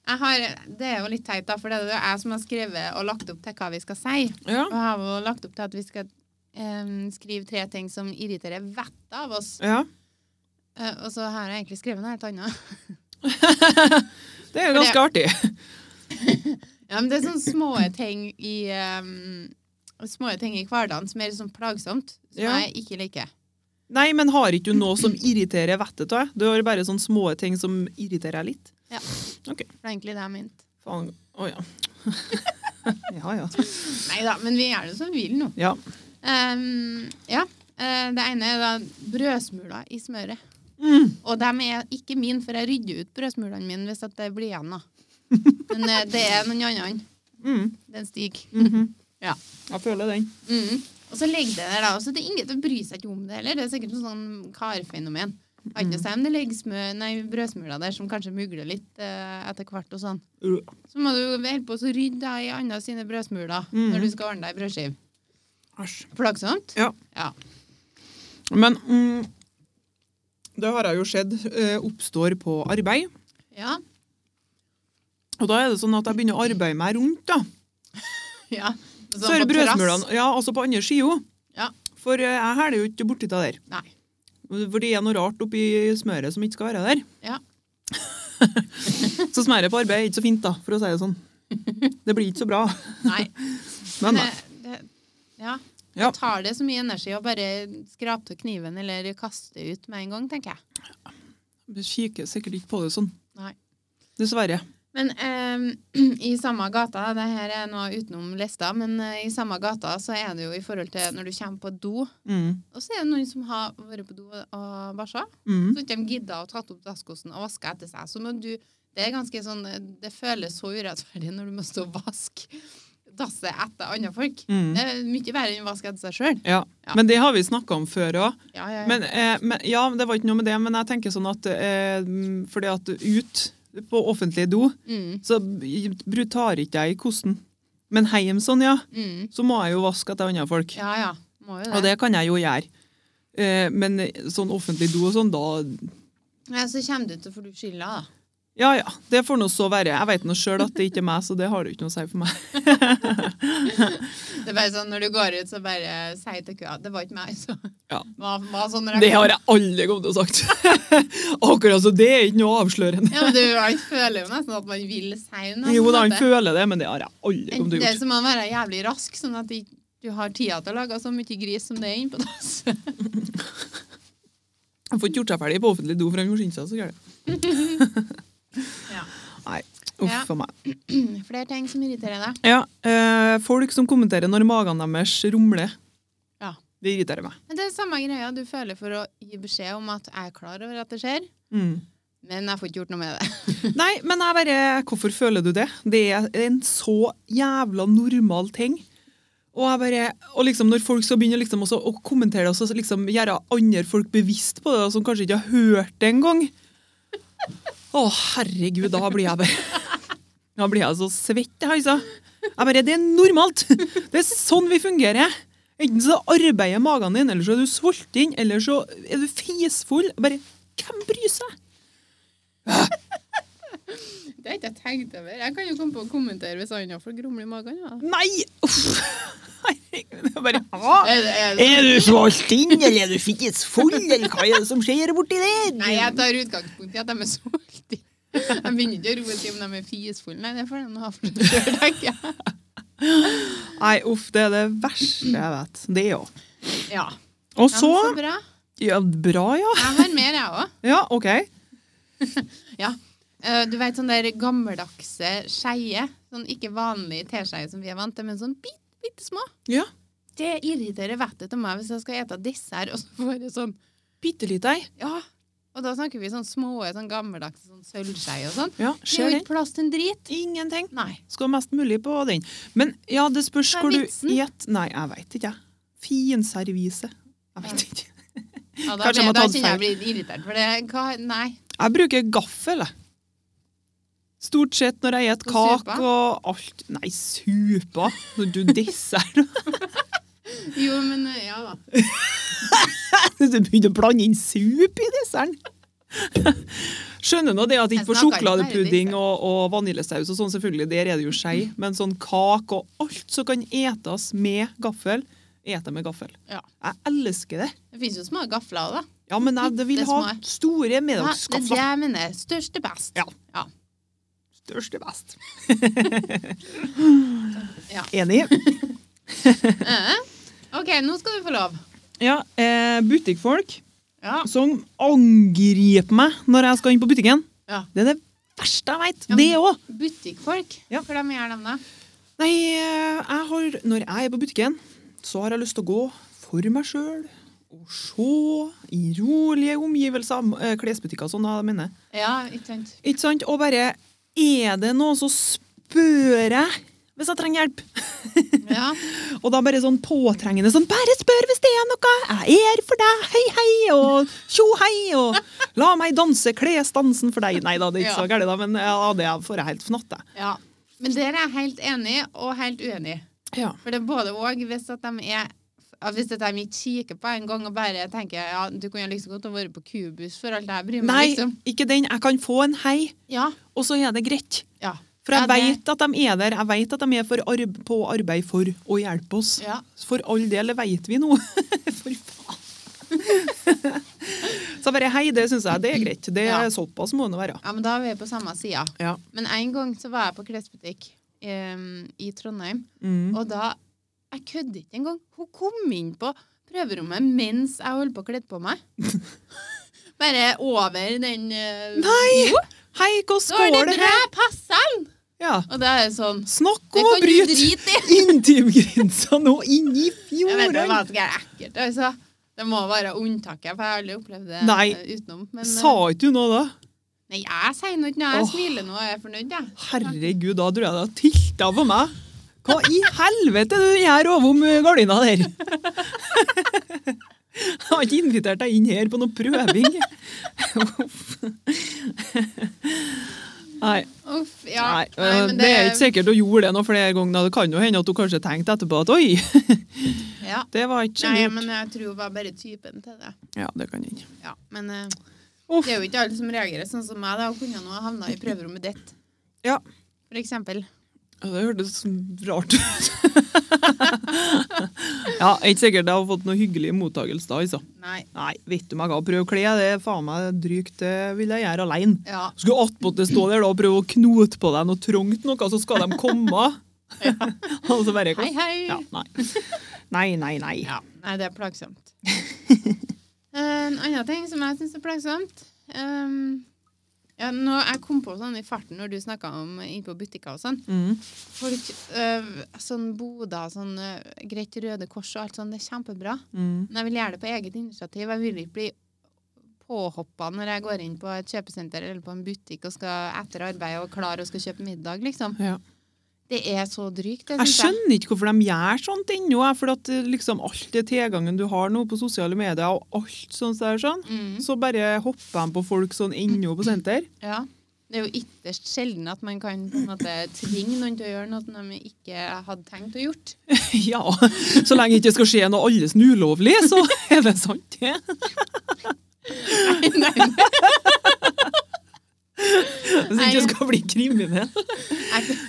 [SPEAKER 1] Jeg har, det er jo litt teit, da, for det er jo jeg som har skrevet og lagt opp til hva vi skal si.
[SPEAKER 2] Ja.
[SPEAKER 1] Og jeg har jo lagt opp til at vi skal eh, skrive tre ting som irriterer vettet av oss.
[SPEAKER 2] ja.
[SPEAKER 1] Eh, og så har jeg egentlig skrevet noe helt annet.
[SPEAKER 2] Det er jo ganske artig.
[SPEAKER 1] Ja, men det er sånne små ting i eh, Små ting i hverdagen som er litt sånn plagsomt, som
[SPEAKER 2] Ja.
[SPEAKER 1] jeg ikke liker.
[SPEAKER 2] Nei, men har ikke du noe som irriterer vettet av deg? Du har bare sånne små ting som irriterer deg litt.
[SPEAKER 1] For det er egentlig det jeg mente.
[SPEAKER 2] Faen. Å ja.
[SPEAKER 1] (laughs)
[SPEAKER 2] ja, (laughs) ja.
[SPEAKER 1] Nei da, men vi gjør det som vi vil nå.
[SPEAKER 2] Ja.
[SPEAKER 1] Ehm, ja. Eh, det ene er da brødsmuler i smøret.
[SPEAKER 2] Mm.
[SPEAKER 1] Og dem er ikke mine, for jeg rydder ut brødsmulene mine hvis at det blir igjen. da. Men eh, det er noen annen.
[SPEAKER 2] Mm.
[SPEAKER 1] Den stiger.
[SPEAKER 2] Mhm.
[SPEAKER 1] Ja.
[SPEAKER 2] Jeg føler den.
[SPEAKER 1] Mm. Og så ligger det der, da. Og så det er ingen som bryr seg ikke om det heller. Det er sikkert noe sånn karfenomen. Jeg Kan ikke
[SPEAKER 2] Mm.
[SPEAKER 1] si om det ligger smø, nei, brødsmuler der som kanskje mugler litt eh, etter hvert og sånn. Så må du jo holde på å rydde deg i andre sine brødsmuler
[SPEAKER 2] Mhm.
[SPEAKER 1] når du skal ordne deg ei brødskive.
[SPEAKER 2] Æsj.
[SPEAKER 1] Plagsomt?
[SPEAKER 2] Ja.
[SPEAKER 1] ja.
[SPEAKER 2] Men mm, det har jeg jo sett eh, oppstår på arbeid.
[SPEAKER 1] Ja.
[SPEAKER 2] Og da er det sånn at jeg begynner å arbeide meg rundt, da.
[SPEAKER 1] ja.
[SPEAKER 2] Så er det brødsmulene. Ja, altså på andre sida.
[SPEAKER 1] Ja.
[SPEAKER 2] For eh, jeg hæler jo ikke borti det der.
[SPEAKER 1] Nei.
[SPEAKER 2] For det er noe rart oppi smøret som ikke skal (laughs) være der.
[SPEAKER 1] Ja.
[SPEAKER 2] så smøret på arbeid er ikke så fint, da, for å si det sånn. Det blir (laughs) ikke så bra.
[SPEAKER 1] Nei.
[SPEAKER 2] Men nei.
[SPEAKER 1] det, det, ja.
[SPEAKER 2] Ja.
[SPEAKER 1] Det tar det så mye energi å bare skrape av kniven eller kaste ut med en gang, tenker jeg.
[SPEAKER 2] Vi kikker sikkert ikke på det sånn.
[SPEAKER 1] Nei.
[SPEAKER 2] Dessverre.
[SPEAKER 1] Men ehm, (clears throat) i samme gata, det her er noe utenom lista, men eh, i samme gata så er det jo i forhold til når du kommer på do,
[SPEAKER 2] Mm.
[SPEAKER 1] og så er det noen som har vært på do og bæsja,
[SPEAKER 2] Mm.
[SPEAKER 1] så ikke de gidder å tatt opp dasskosten og vaske etter seg. Så må du, det er ganske sånn, eh, det føles så urettferdig når du må stå og vaske dasset etter andre folk.
[SPEAKER 2] Mm.
[SPEAKER 1] Det er mye verre enn å vaske etter seg selv.
[SPEAKER 2] Ja.
[SPEAKER 1] Ja.
[SPEAKER 2] Men det har vi snakka om før òg.
[SPEAKER 1] Ja, ja, ja.
[SPEAKER 2] Men, eh, men, ja, men det var ikke noe med det, men jeg tenker sånn at eh, mm, fordi at ut på offentlig do,
[SPEAKER 1] mm,
[SPEAKER 2] så bru- tar ikke jeg i kosten. Men heim sånn, ja,
[SPEAKER 1] mm.
[SPEAKER 2] så må jeg jo vaske etter andre folk.
[SPEAKER 1] Ja, ja. Må jo det.
[SPEAKER 2] Og det kan jeg jo gjøre. Eh, men sånn offentlig do og sånn, da
[SPEAKER 1] Ja, så kommer du til å få du skylda, da.
[SPEAKER 2] Ja ja, det får nå så være. Jeg vet nå sjøl at det ikke er meg, så det har det jo ikke noe å si for
[SPEAKER 1] (laughs)
[SPEAKER 2] meg.
[SPEAKER 1] Det er bare sånn, Når du går ut, så bare sier til køa det var ikke meg. så
[SPEAKER 2] Ja.
[SPEAKER 1] hva, hva sånn når jeg
[SPEAKER 2] Det har jeg aldri kommet til å sagt. (laughs) Akkurat så det er ikke noe avslørende.
[SPEAKER 1] Ja, men du han føler jo nesten at man vil si noe.
[SPEAKER 2] Jo da,
[SPEAKER 1] på
[SPEAKER 2] han
[SPEAKER 1] en måte.
[SPEAKER 2] føler det, men det har jeg aldri kommet til å
[SPEAKER 1] Det er
[SPEAKER 2] gjøre.
[SPEAKER 1] som å være jævlig rask, sånn at ikke du har tida til å lage så mye gris som det er inne på dass.
[SPEAKER 2] Han får ikke gjort seg ferdig på offentlig do, for han må skynde seg så gærent.
[SPEAKER 1] Ja.
[SPEAKER 2] Nei, uff
[SPEAKER 1] Ja.
[SPEAKER 2] for meg.
[SPEAKER 1] (clears throat) Flere ting som irriterer deg.
[SPEAKER 2] Ja, eh, folk som kommenterer når magene deres rumler.
[SPEAKER 1] Ja.
[SPEAKER 2] Det irriterer meg.
[SPEAKER 1] Men Det er samme greia du føler for å gi beskjed om at jeg er klar over at det skjer,
[SPEAKER 2] Mm.
[SPEAKER 1] men jeg får ikke gjort noe med det.
[SPEAKER 2] Nei, men jeg bare Hvorfor føler du det? Det er en så jævla normal ting. Og, jeg bare, og liksom når folk skal begynne liksom også, å kommentere det, og så liksom gjøre andre folk bevisst på det, og som kanskje ikke har hørt det engang Å, herregud, da blir jeg bare altså. Da blir jeg så svett i halsen. Jeg bare Det er normalt! Det er sånn vi fungerer. Enten så arbeider magen din, eller så er du sulten, eller så er du fisfull. Bare hvem bryr seg?
[SPEAKER 1] (laughs) Det har ikke jeg tenkt over. Jeg kan jo komme på å kommentere hvis andre får grumle i magen. Ja.
[SPEAKER 2] Nei! Uff. (laughs) Herregud. det er
[SPEAKER 1] (laughs)
[SPEAKER 2] Bare, ja.
[SPEAKER 1] Er det- er det-
[SPEAKER 2] Er du sulten, eller er du fisfull, eller hva er det som skjer borti der?
[SPEAKER 1] Nei, jeg tar utgangspunkt i at de er solgt. Jeg begynner ikke å roe til om de er fisfulle. Nei, det får de ha for å gjøre, tenker jeg.
[SPEAKER 2] Nei, uff, det er det verste jeg vet. Det òg.
[SPEAKER 1] Ja. Ja,
[SPEAKER 2] Og
[SPEAKER 1] men
[SPEAKER 2] så
[SPEAKER 1] så bra.
[SPEAKER 2] Ja, bra, ja.
[SPEAKER 1] Jeg har mer, jeg òg.
[SPEAKER 2] Ja, OK.
[SPEAKER 1] Ja. Eh, Du vet sånn der gammeldagse skeie. Sånn ikke vanlig teskeie som vi er vant til, men sånn bitte, bitte små.
[SPEAKER 2] Ja.
[SPEAKER 1] Det irriterer vettet til meg hvis jeg skal ete dessert, og så får jeg sånn
[SPEAKER 2] Bitte litt ei.
[SPEAKER 1] Ja. Og da snakker vi sånn små, sånn gammeldagse sånn sølvskeie og sånn.
[SPEAKER 2] Ja,
[SPEAKER 1] Det er
[SPEAKER 2] ser
[SPEAKER 1] jo
[SPEAKER 2] den.
[SPEAKER 1] ikke plass til en drit.
[SPEAKER 2] Ingenting.
[SPEAKER 1] Nei.
[SPEAKER 2] Skal mest mulig på den. Men ja, det spørs
[SPEAKER 1] Hva er
[SPEAKER 2] hvor du
[SPEAKER 1] vitsen?
[SPEAKER 2] gjet. Nei, jeg veit ikke, jeg. Finservise. Jeg vet ikke.
[SPEAKER 1] Ja, da,
[SPEAKER 2] Kanskje jeg
[SPEAKER 1] blir,
[SPEAKER 2] må
[SPEAKER 1] da
[SPEAKER 2] ta den
[SPEAKER 1] kjenner jeg blir irritert, for det hva, Nei.
[SPEAKER 2] Jeg bruker gaffel, jeg. Stort sett når jeg spiser
[SPEAKER 1] Og
[SPEAKER 2] kake
[SPEAKER 1] supa?
[SPEAKER 2] og alt Nei, supa! Du dessert (laughs)
[SPEAKER 1] Jo, men eh, ja da.
[SPEAKER 2] Du begynner å blande inn sup i desserten! Skjønner nå det at ikke
[SPEAKER 1] Jeg
[SPEAKER 2] for
[SPEAKER 1] snakker ikke bare
[SPEAKER 2] sjokoladepudding
[SPEAKER 1] dessert.
[SPEAKER 2] og, og vaniljesaus og sånn, selvfølgelig, der er det jo
[SPEAKER 1] Mm.
[SPEAKER 2] skei, men sånn kake og alt som kan etes med gaffel, eter jeg med gaffel.
[SPEAKER 1] Ja.
[SPEAKER 2] Jeg elsker det.
[SPEAKER 1] Det finnes jo små gafler òg, da.
[SPEAKER 2] Ja, men jeg det vil
[SPEAKER 1] Bitte
[SPEAKER 2] ha
[SPEAKER 1] små. Ja,
[SPEAKER 2] store
[SPEAKER 1] det er
[SPEAKER 2] middagskaffer.
[SPEAKER 1] det jeg mener. Størst er best.
[SPEAKER 2] Ja.
[SPEAKER 1] Ja.
[SPEAKER 2] Størst er best.
[SPEAKER 1] (laughs) Ja.
[SPEAKER 2] Enig.
[SPEAKER 1] Eh, OK, nå skal du få lov.
[SPEAKER 2] Ja, eh, butikkfolk
[SPEAKER 1] Ja.
[SPEAKER 2] som angriper meg når jeg skal inn på butikken.
[SPEAKER 1] Ja.
[SPEAKER 2] Det er det verste jeg veit.
[SPEAKER 1] Ja, men-
[SPEAKER 2] Det òg.
[SPEAKER 1] Butikkfolk.
[SPEAKER 2] Ja.
[SPEAKER 1] Hva de gjør de da?
[SPEAKER 2] Nei, eh, jeg har, når jeg er på butikken, så har jeg lyst til å gå for meg sjøl. Og se i rolige omgivelser. eh, Klesbutikker og sånn, da, mener jeg.
[SPEAKER 1] Ja, ikke sant.
[SPEAKER 2] Ikke sant? Og bare Er det noe, så spør jeg hvis jeg trenger hjelp. (laughs)
[SPEAKER 1] Ja.
[SPEAKER 2] Og da bare sånn påtrengende sånn Bare spør hvis det er noe! Jeg er her for deg! Hei, hei! Og tjo, hei! Og la meg danse klesdansen for deg! Nei da, det er ikke så gærent, da, men ja, det får jeg helt fnatt, jeg.
[SPEAKER 1] ja. Men der er jeg helt enig og helt uenig.
[SPEAKER 2] Ja.
[SPEAKER 1] For det er både og hvis at de er at hvis at de ikke kikker på en gang og bare tenker ja, du kunne like så godt ha vært på kubus for alt det her bryr meg,
[SPEAKER 2] Nei,
[SPEAKER 1] liksom.
[SPEAKER 2] ikke den. Jeg kan få en hei,
[SPEAKER 1] Ja.
[SPEAKER 2] og så er det greit.
[SPEAKER 1] ja.
[SPEAKER 2] For jeg
[SPEAKER 1] Ja, det-
[SPEAKER 2] vet at de er der. Jeg vet at de er for arb på arbeid for å hjelpe oss.
[SPEAKER 1] Ja.
[SPEAKER 2] For all del vet vi nå. (laughs) for faen. (laughs) så bare hei, det syns jeg det er greit. Det er
[SPEAKER 1] Ja.
[SPEAKER 2] Såpass må det være.
[SPEAKER 1] ja, men da er vi på samme sida.
[SPEAKER 2] Ja.
[SPEAKER 1] Men en gang så var jeg på klesbutikk em, i Trondheim,
[SPEAKER 2] Mm.
[SPEAKER 1] og da Jeg kødder ikke engang. Hun kom inn på prøverommet mens jeg holdt på å kle på meg. (laughs) Bare over den eh,
[SPEAKER 2] Nei! Hei,
[SPEAKER 1] Så er det
[SPEAKER 2] hvordan går det
[SPEAKER 1] bra!
[SPEAKER 2] her?
[SPEAKER 1] Passer'n!
[SPEAKER 2] Ja.
[SPEAKER 1] Og da er det sånn
[SPEAKER 2] Snakk
[SPEAKER 1] Det
[SPEAKER 2] om å
[SPEAKER 1] kan du
[SPEAKER 2] (laughs) bryte
[SPEAKER 1] drite i!
[SPEAKER 2] intimgrensa nå inn i
[SPEAKER 1] Jeg vet det
[SPEAKER 2] fjordene!
[SPEAKER 1] var ganske ekkelt. Altså. Det må være unntaket, for jeg har aldri opplevd det
[SPEAKER 2] Nei.
[SPEAKER 1] eh, utenom. Men, eh,
[SPEAKER 2] Sa ikke du noe da?
[SPEAKER 1] Nei, jeg sier noe ikke nå. Jeg
[SPEAKER 2] Åh.
[SPEAKER 1] smiler nå og er fornøyd, jeg.
[SPEAKER 2] Herregud, da tror jeg det har tilta for meg. Hva i helvete er det du gjør ovom eh, gardina der? (laughs) Jeg har ikke invitert deg inn her på noe prøving. (laughs) Uff. Nei,
[SPEAKER 1] Uff, ja.
[SPEAKER 2] nei,
[SPEAKER 1] Nei,
[SPEAKER 2] eh,
[SPEAKER 1] men
[SPEAKER 2] det er ikke sikkert hun gjorde det noen flere ganger. Det kan jo hende at hun kanskje tenkte etterpå at oi,
[SPEAKER 1] Ja.
[SPEAKER 2] det var ikke
[SPEAKER 1] Nei,
[SPEAKER 2] lurt.
[SPEAKER 1] men jeg tror hun var bare typen til det.
[SPEAKER 2] Ja, det kan hende.
[SPEAKER 1] Ja, men eh,
[SPEAKER 2] Uff.
[SPEAKER 1] det er jo ikke alle som reagerer sånn som meg. da. Hun kunne nå ha havna i prøverommet ditt,
[SPEAKER 2] Ja,
[SPEAKER 1] for eksempel.
[SPEAKER 2] Ja, Det hørtes rart ut. (laughs) ja, ikke sikkert jeg har fått noe hyggelig mottagelse da, altså.
[SPEAKER 1] Nei.
[SPEAKER 2] Nei, vet du meg hva, prøv å kle, det er faen meg drygt, det vil jeg gjøre alene.
[SPEAKER 1] Ja.
[SPEAKER 2] Skulle attpåtil stå der da og prøve å knote på deg noe trangt noe, så skal de (laughs) komme. og så bare
[SPEAKER 1] Hei, hei.
[SPEAKER 2] Ja, nei. Nei, nei, nei.
[SPEAKER 1] Ja, Nei, det er
[SPEAKER 2] (laughs)
[SPEAKER 1] plagsomt. Eh, en annen ting som jeg syns er plagsomt ehm, ja, nå, Jeg kom på sånn i farten når du snakka om inn på butikker og sånn.
[SPEAKER 2] Mm.
[SPEAKER 1] Folk, øh, sånn boder, sånn øh, greit Røde Kors og alt sånn, det er kjempebra.
[SPEAKER 2] Mm.
[SPEAKER 1] Men jeg vil gjøre det på eget initiativ. Jeg vil ikke bli påhoppa når jeg går inn på et kjøpesenter eller på en butikk og skal etter arbeid og klar og skal kjøpe middag, liksom.
[SPEAKER 2] Ja.
[SPEAKER 1] Det er så drygt, det
[SPEAKER 2] Jeg
[SPEAKER 1] syns jeg.
[SPEAKER 2] skjønner ikke hvorfor de gjør sånt ennå, jeg, for at eh, liksom alt det tilgangen du har nå på sosiale medier og alt sånt der sånn,
[SPEAKER 1] Mm, (laughs)
[SPEAKER 2] så bare hopper de på folk sånn ennå på senter. (laughs)
[SPEAKER 1] ja. Det er jo ytterst sjelden at man kan på en måte, tvinge noen til å gjøre noe som de ikke hadde tenkt å
[SPEAKER 2] (laughs)
[SPEAKER 1] gjort.
[SPEAKER 2] Ja, så lenge ikke det skal skje noe alles ulovlig, så (laughs) er det sant, det.
[SPEAKER 1] Nei,
[SPEAKER 2] Hvis det ikke skal bli kriminell.
[SPEAKER 1] jeg,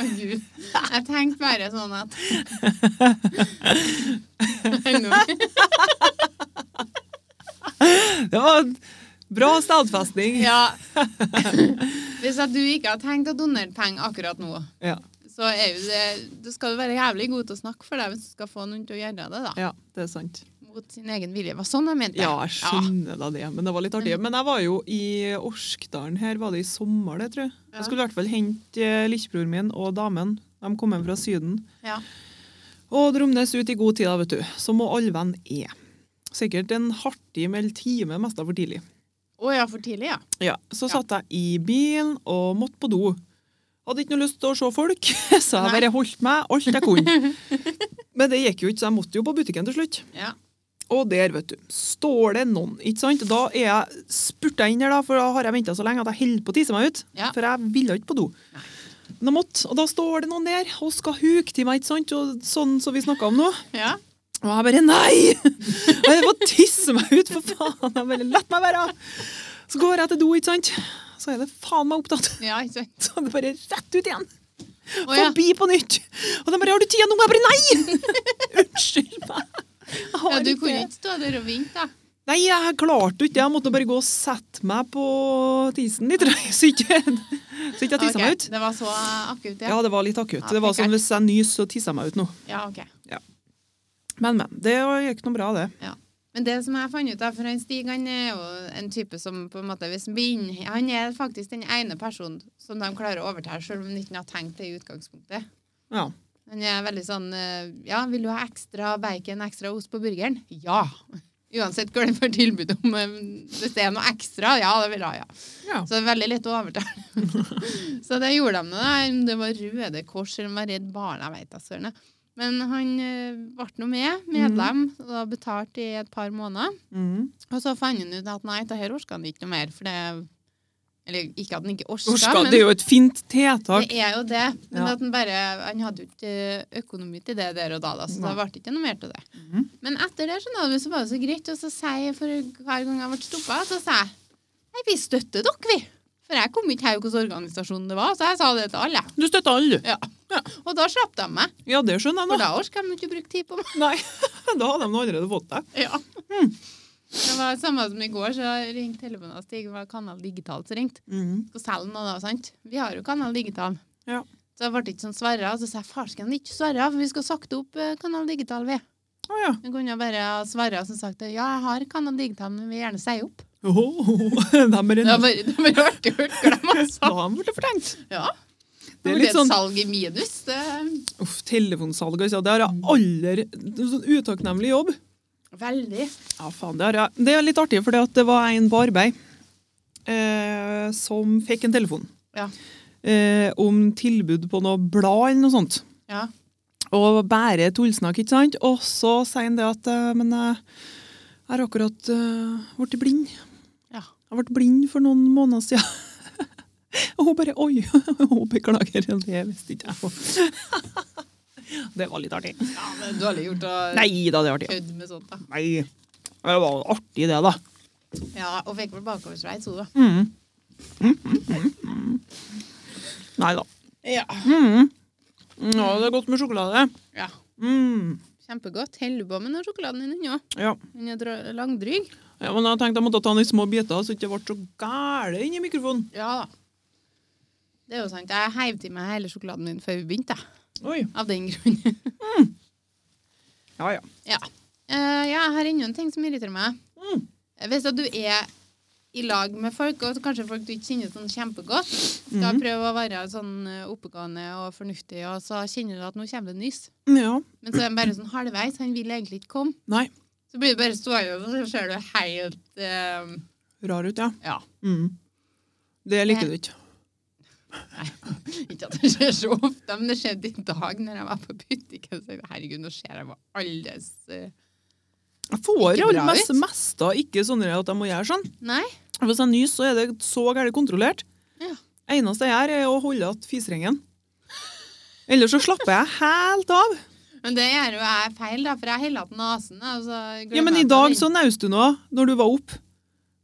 [SPEAKER 1] Å, Gud. jeg tenkte bare sånn at
[SPEAKER 2] (laughs)
[SPEAKER 1] Nei, nå-
[SPEAKER 2] Det var en bra stadfesting.
[SPEAKER 1] Ja. Hvis at du ikke har tenkt å donere penger akkurat nå,
[SPEAKER 2] Ja,
[SPEAKER 1] så er jo det, da skal du være jævlig god til å snakke for deg hvis du skal få noen til å gjøre det, da.
[SPEAKER 2] ja det er sant.
[SPEAKER 1] Mot sin egen vilje. Det var sånn jeg mente.
[SPEAKER 2] Ja, jeg skjønner da det, men det var litt artig.
[SPEAKER 1] Mm.
[SPEAKER 2] Men jeg var jo i Orskdalen her, var det i sommer det, tror jeg.
[SPEAKER 1] Ja.
[SPEAKER 2] Jeg skulle i hvert fall hente eh, lillebroren min og damen. De kom hjem fra Syden.
[SPEAKER 1] Ja.
[SPEAKER 2] Og dromnes ut i god tid, da, vet du. Som og alle venn er. e. Sikkert en hartig meld time, mest av for tidlig.
[SPEAKER 1] Å ja, for tidlig, ja.
[SPEAKER 2] Ja, så
[SPEAKER 1] Ja.
[SPEAKER 2] satt jeg i bilen og måtte på do. Hadde ikke noe lyst til å se folk, (laughs) så jeg
[SPEAKER 1] Nei.
[SPEAKER 2] bare holdt meg alt jeg
[SPEAKER 1] (laughs)
[SPEAKER 2] kunne. Men det gikk jo ikke, så jeg måtte jo på butikken til slutt.
[SPEAKER 1] ja.
[SPEAKER 2] Og der, vet du, står det noen, ikke sant? Da er jeg spurta inn der, da, for da har jeg venta så lenge at jeg holder på å tisse meg ut.
[SPEAKER 1] Ja.
[SPEAKER 2] For jeg ville ikke på do.
[SPEAKER 1] Nei.
[SPEAKER 2] Men jeg måtte, og da står det noen der og skal huke til meg, ikke sant? Og sånn som vi snakka om nå.
[SPEAKER 1] Ja.
[SPEAKER 2] Og jeg bare nei! (laughs) Jeg må tisse meg ut, for faen! Jeg bare, Lett meg være! Så går jeg til do, ikke sant? Så er det faen meg opptatt. (laughs)
[SPEAKER 1] ja ikke sant.
[SPEAKER 2] Så er det bare rett ut igjen.
[SPEAKER 1] Å ja.
[SPEAKER 2] Forbi på nytt. Og de bare 'Har du tida nå?' Jeg bare nei! (laughs) Unnskyld meg. Jeg har
[SPEAKER 1] ja. Du
[SPEAKER 2] ikke-
[SPEAKER 1] kunne ikke stå der og vente, da.
[SPEAKER 2] Nei, jeg klarte jo ikke det. Jeg måtte bare gå og sette meg på tisen litt, (laughs) så ikke, så ikke jeg
[SPEAKER 1] Ok,
[SPEAKER 2] tissa meg ut.
[SPEAKER 1] Det var så akutt,
[SPEAKER 2] Ja,
[SPEAKER 1] ja.
[SPEAKER 2] det var litt akutt.
[SPEAKER 1] Ja,
[SPEAKER 2] Det var
[SPEAKER 1] fikk
[SPEAKER 2] sånn hvis jeg nyser, så tisser jeg meg ut nå.
[SPEAKER 1] Ja, ok.
[SPEAKER 2] Men, men. Det gikk noe bra, det.
[SPEAKER 1] Men det som jeg fant ut av, for han Stig han er jo en type som på en måte, hvis han blir inn- Han er faktisk den ene personen som de klarer å overtale, selv om han ikke har tenkt det i utgangspunktet.
[SPEAKER 2] Ja.
[SPEAKER 1] Han er veldig sånn eh, Ja, vil du ha ekstra bacon, ekstra ost på burgeren? Ja! (laughs) Uansett hva den får tilbud om. eh, Hvis det er noe ekstra, ja, det vil jeg ha, ja.
[SPEAKER 2] ja.
[SPEAKER 1] Så det er veldig lett å overtale. (laughs) så det gjorde de nå. da. Om Det var Røde Kors eller om det var Redd Barna, jeg vet da søren. jeg. Men han eh, ble nå med, medlem, og da betalt i et par måneder.
[SPEAKER 2] Mm.
[SPEAKER 1] Og så fant han ut at nei, det her orker han ikke noe mer. For det Eller ikke at han ikke orka,
[SPEAKER 2] Orska,
[SPEAKER 1] men
[SPEAKER 2] det er jo et fint tiltak.
[SPEAKER 1] det er jo det. Men
[SPEAKER 2] Ja.
[SPEAKER 1] at han bare Han hadde jo ikke økonomi til det der og da, da så da
[SPEAKER 2] Nei.
[SPEAKER 1] ble det ikke noe mer til det.
[SPEAKER 2] Mhm.
[SPEAKER 1] Men etter det skjønner du, så var det så greit. Og så sier jeg for hver gang jeg ble stoppa, så sier jeg Nei, vi støtter dere, vi. For jeg kom ikke her hvilken organisasjon det var, så jeg sa det til alle.
[SPEAKER 2] Du støtter alle, du.
[SPEAKER 1] Ja. Og da slapp de meg.
[SPEAKER 2] Ja, det skjønner
[SPEAKER 1] For
[SPEAKER 2] jeg nå.
[SPEAKER 1] da orker de ikke å bruke tid på meg.
[SPEAKER 2] (laughs) Nei, da hadde de nå allerede fått det.
[SPEAKER 1] Ja. (laughs) Det var det samme som i går, så ringte telefonen av Stig. Det var Kanal Digital som ringte.
[SPEAKER 2] Mm.
[SPEAKER 1] Skal selge noe da, sant? Vi har jo Kanal Digital.
[SPEAKER 2] Ja.
[SPEAKER 1] Så det ble ikke sånn Sverre. Og så sa jeg farsken, ikke Sverre, for vi skal sakte opp eh, Kanal Digital, vi.
[SPEAKER 2] Å ja.
[SPEAKER 1] Du kunne jo bare ha Sverre som sagt ja, jeg har Kanal Digital, men vil gjerne si opp.
[SPEAKER 2] Åh, (laughs) de
[SPEAKER 1] Det har
[SPEAKER 2] er en...
[SPEAKER 1] bare, det har bare vært å glemme,
[SPEAKER 2] Da (laughs)
[SPEAKER 1] altså.
[SPEAKER 2] har de blitt fortenkt.
[SPEAKER 1] Ja.
[SPEAKER 2] Det
[SPEAKER 1] Det
[SPEAKER 2] er
[SPEAKER 1] er
[SPEAKER 2] litt sånn-
[SPEAKER 1] Et salg i minus. Det,
[SPEAKER 2] Uff, telefonsalg, altså. Det har
[SPEAKER 1] Mm.
[SPEAKER 2] jeg aller det er Sånn utakknemlig jobb.
[SPEAKER 1] veldig.
[SPEAKER 2] Ja, faen, det, har jeg. det er litt artig, for det var en på arbeid eh, som fikk en telefon
[SPEAKER 1] Ja.
[SPEAKER 2] eh, om tilbud på noe blad eller noe sånt.
[SPEAKER 1] Ja.
[SPEAKER 2] Og bare tullsnakk, ikke sant? Og så sier han det at eh, Men eh, jeg har akkurat eh, blitt blind.
[SPEAKER 1] Ja.
[SPEAKER 2] Jeg ble blind for noen måneder siden. (laughs) Og hun bare Oi, (laughs) hun beklager. Det visste ikke jeg. (laughs) Det var litt artig.
[SPEAKER 1] ja men dårlig gjort å
[SPEAKER 2] Nei da, det er artig.
[SPEAKER 1] kødde med sånt, da.
[SPEAKER 2] Nei. Det var artig, det, da.
[SPEAKER 1] Ja, og fikk vel bakoversveis, hun, da.
[SPEAKER 2] Mm. Nei da.
[SPEAKER 1] Ja.
[SPEAKER 2] Mm. Ja, det er godt med sjokolade.
[SPEAKER 1] ja.
[SPEAKER 2] Mm.
[SPEAKER 1] Kjempegodt. Holder du på med den sjokoladen din ennå?
[SPEAKER 2] Ja.
[SPEAKER 1] Den er dra- langdryg.
[SPEAKER 2] ja, men jeg tenkte jeg måtte ta den i små biter, så det ikke ble så gæle inni mikrofonen.
[SPEAKER 1] Ja da. Det er jo sant. Jeg heiv til meg hele sjokoladen min før vi begynte, jeg.
[SPEAKER 2] Oi.
[SPEAKER 1] av den grunn.
[SPEAKER 2] Ja, ja.
[SPEAKER 1] ja. Eh, ja, jeg har enda en ting som irriterer meg. Eh,
[SPEAKER 2] Mm.
[SPEAKER 1] Hvis at du er i lag med folk, og kanskje folk du ikke kjenner sånn kjempegodt, skal prøve å være sånn eh, oppegående og fornuftig, og så kjenner du at nå kommer det nyss.
[SPEAKER 2] ja.
[SPEAKER 1] Men så er han bare sånn halvveis. Han vil egentlig ikke komme.
[SPEAKER 2] Nei.
[SPEAKER 1] Så blir du bare stående, og så ser du helt eh,
[SPEAKER 2] Rar ut, ja.
[SPEAKER 1] Ja.
[SPEAKER 2] Mm. Det liker du ikke.
[SPEAKER 1] (laughs) Ikke at det skjer så ofte, men det skjedde i dag når jeg var på butikken. Så jeg, herregud, nå ser jeg bare alles eh,
[SPEAKER 2] Jeg får
[SPEAKER 1] Ikke
[SPEAKER 2] jo
[SPEAKER 1] bra
[SPEAKER 2] mest,
[SPEAKER 1] ut.
[SPEAKER 2] mest da ikke sånn at jeg må gjøre sånn.
[SPEAKER 1] Nei.
[SPEAKER 2] Hvis jeg nyser, så er det så gærent kontrollert.
[SPEAKER 1] Ja.
[SPEAKER 2] Eneste jeg gjør, er å holde igjen fiseringen. Ellers så slapper jeg helt av.
[SPEAKER 1] Men det gjør jo jeg feil, da, for jeg heller på nesen. og så glemmer
[SPEAKER 2] Ja, Men i
[SPEAKER 1] jeg på
[SPEAKER 2] dag
[SPEAKER 1] den.
[SPEAKER 2] så naust du nå, når du var opp.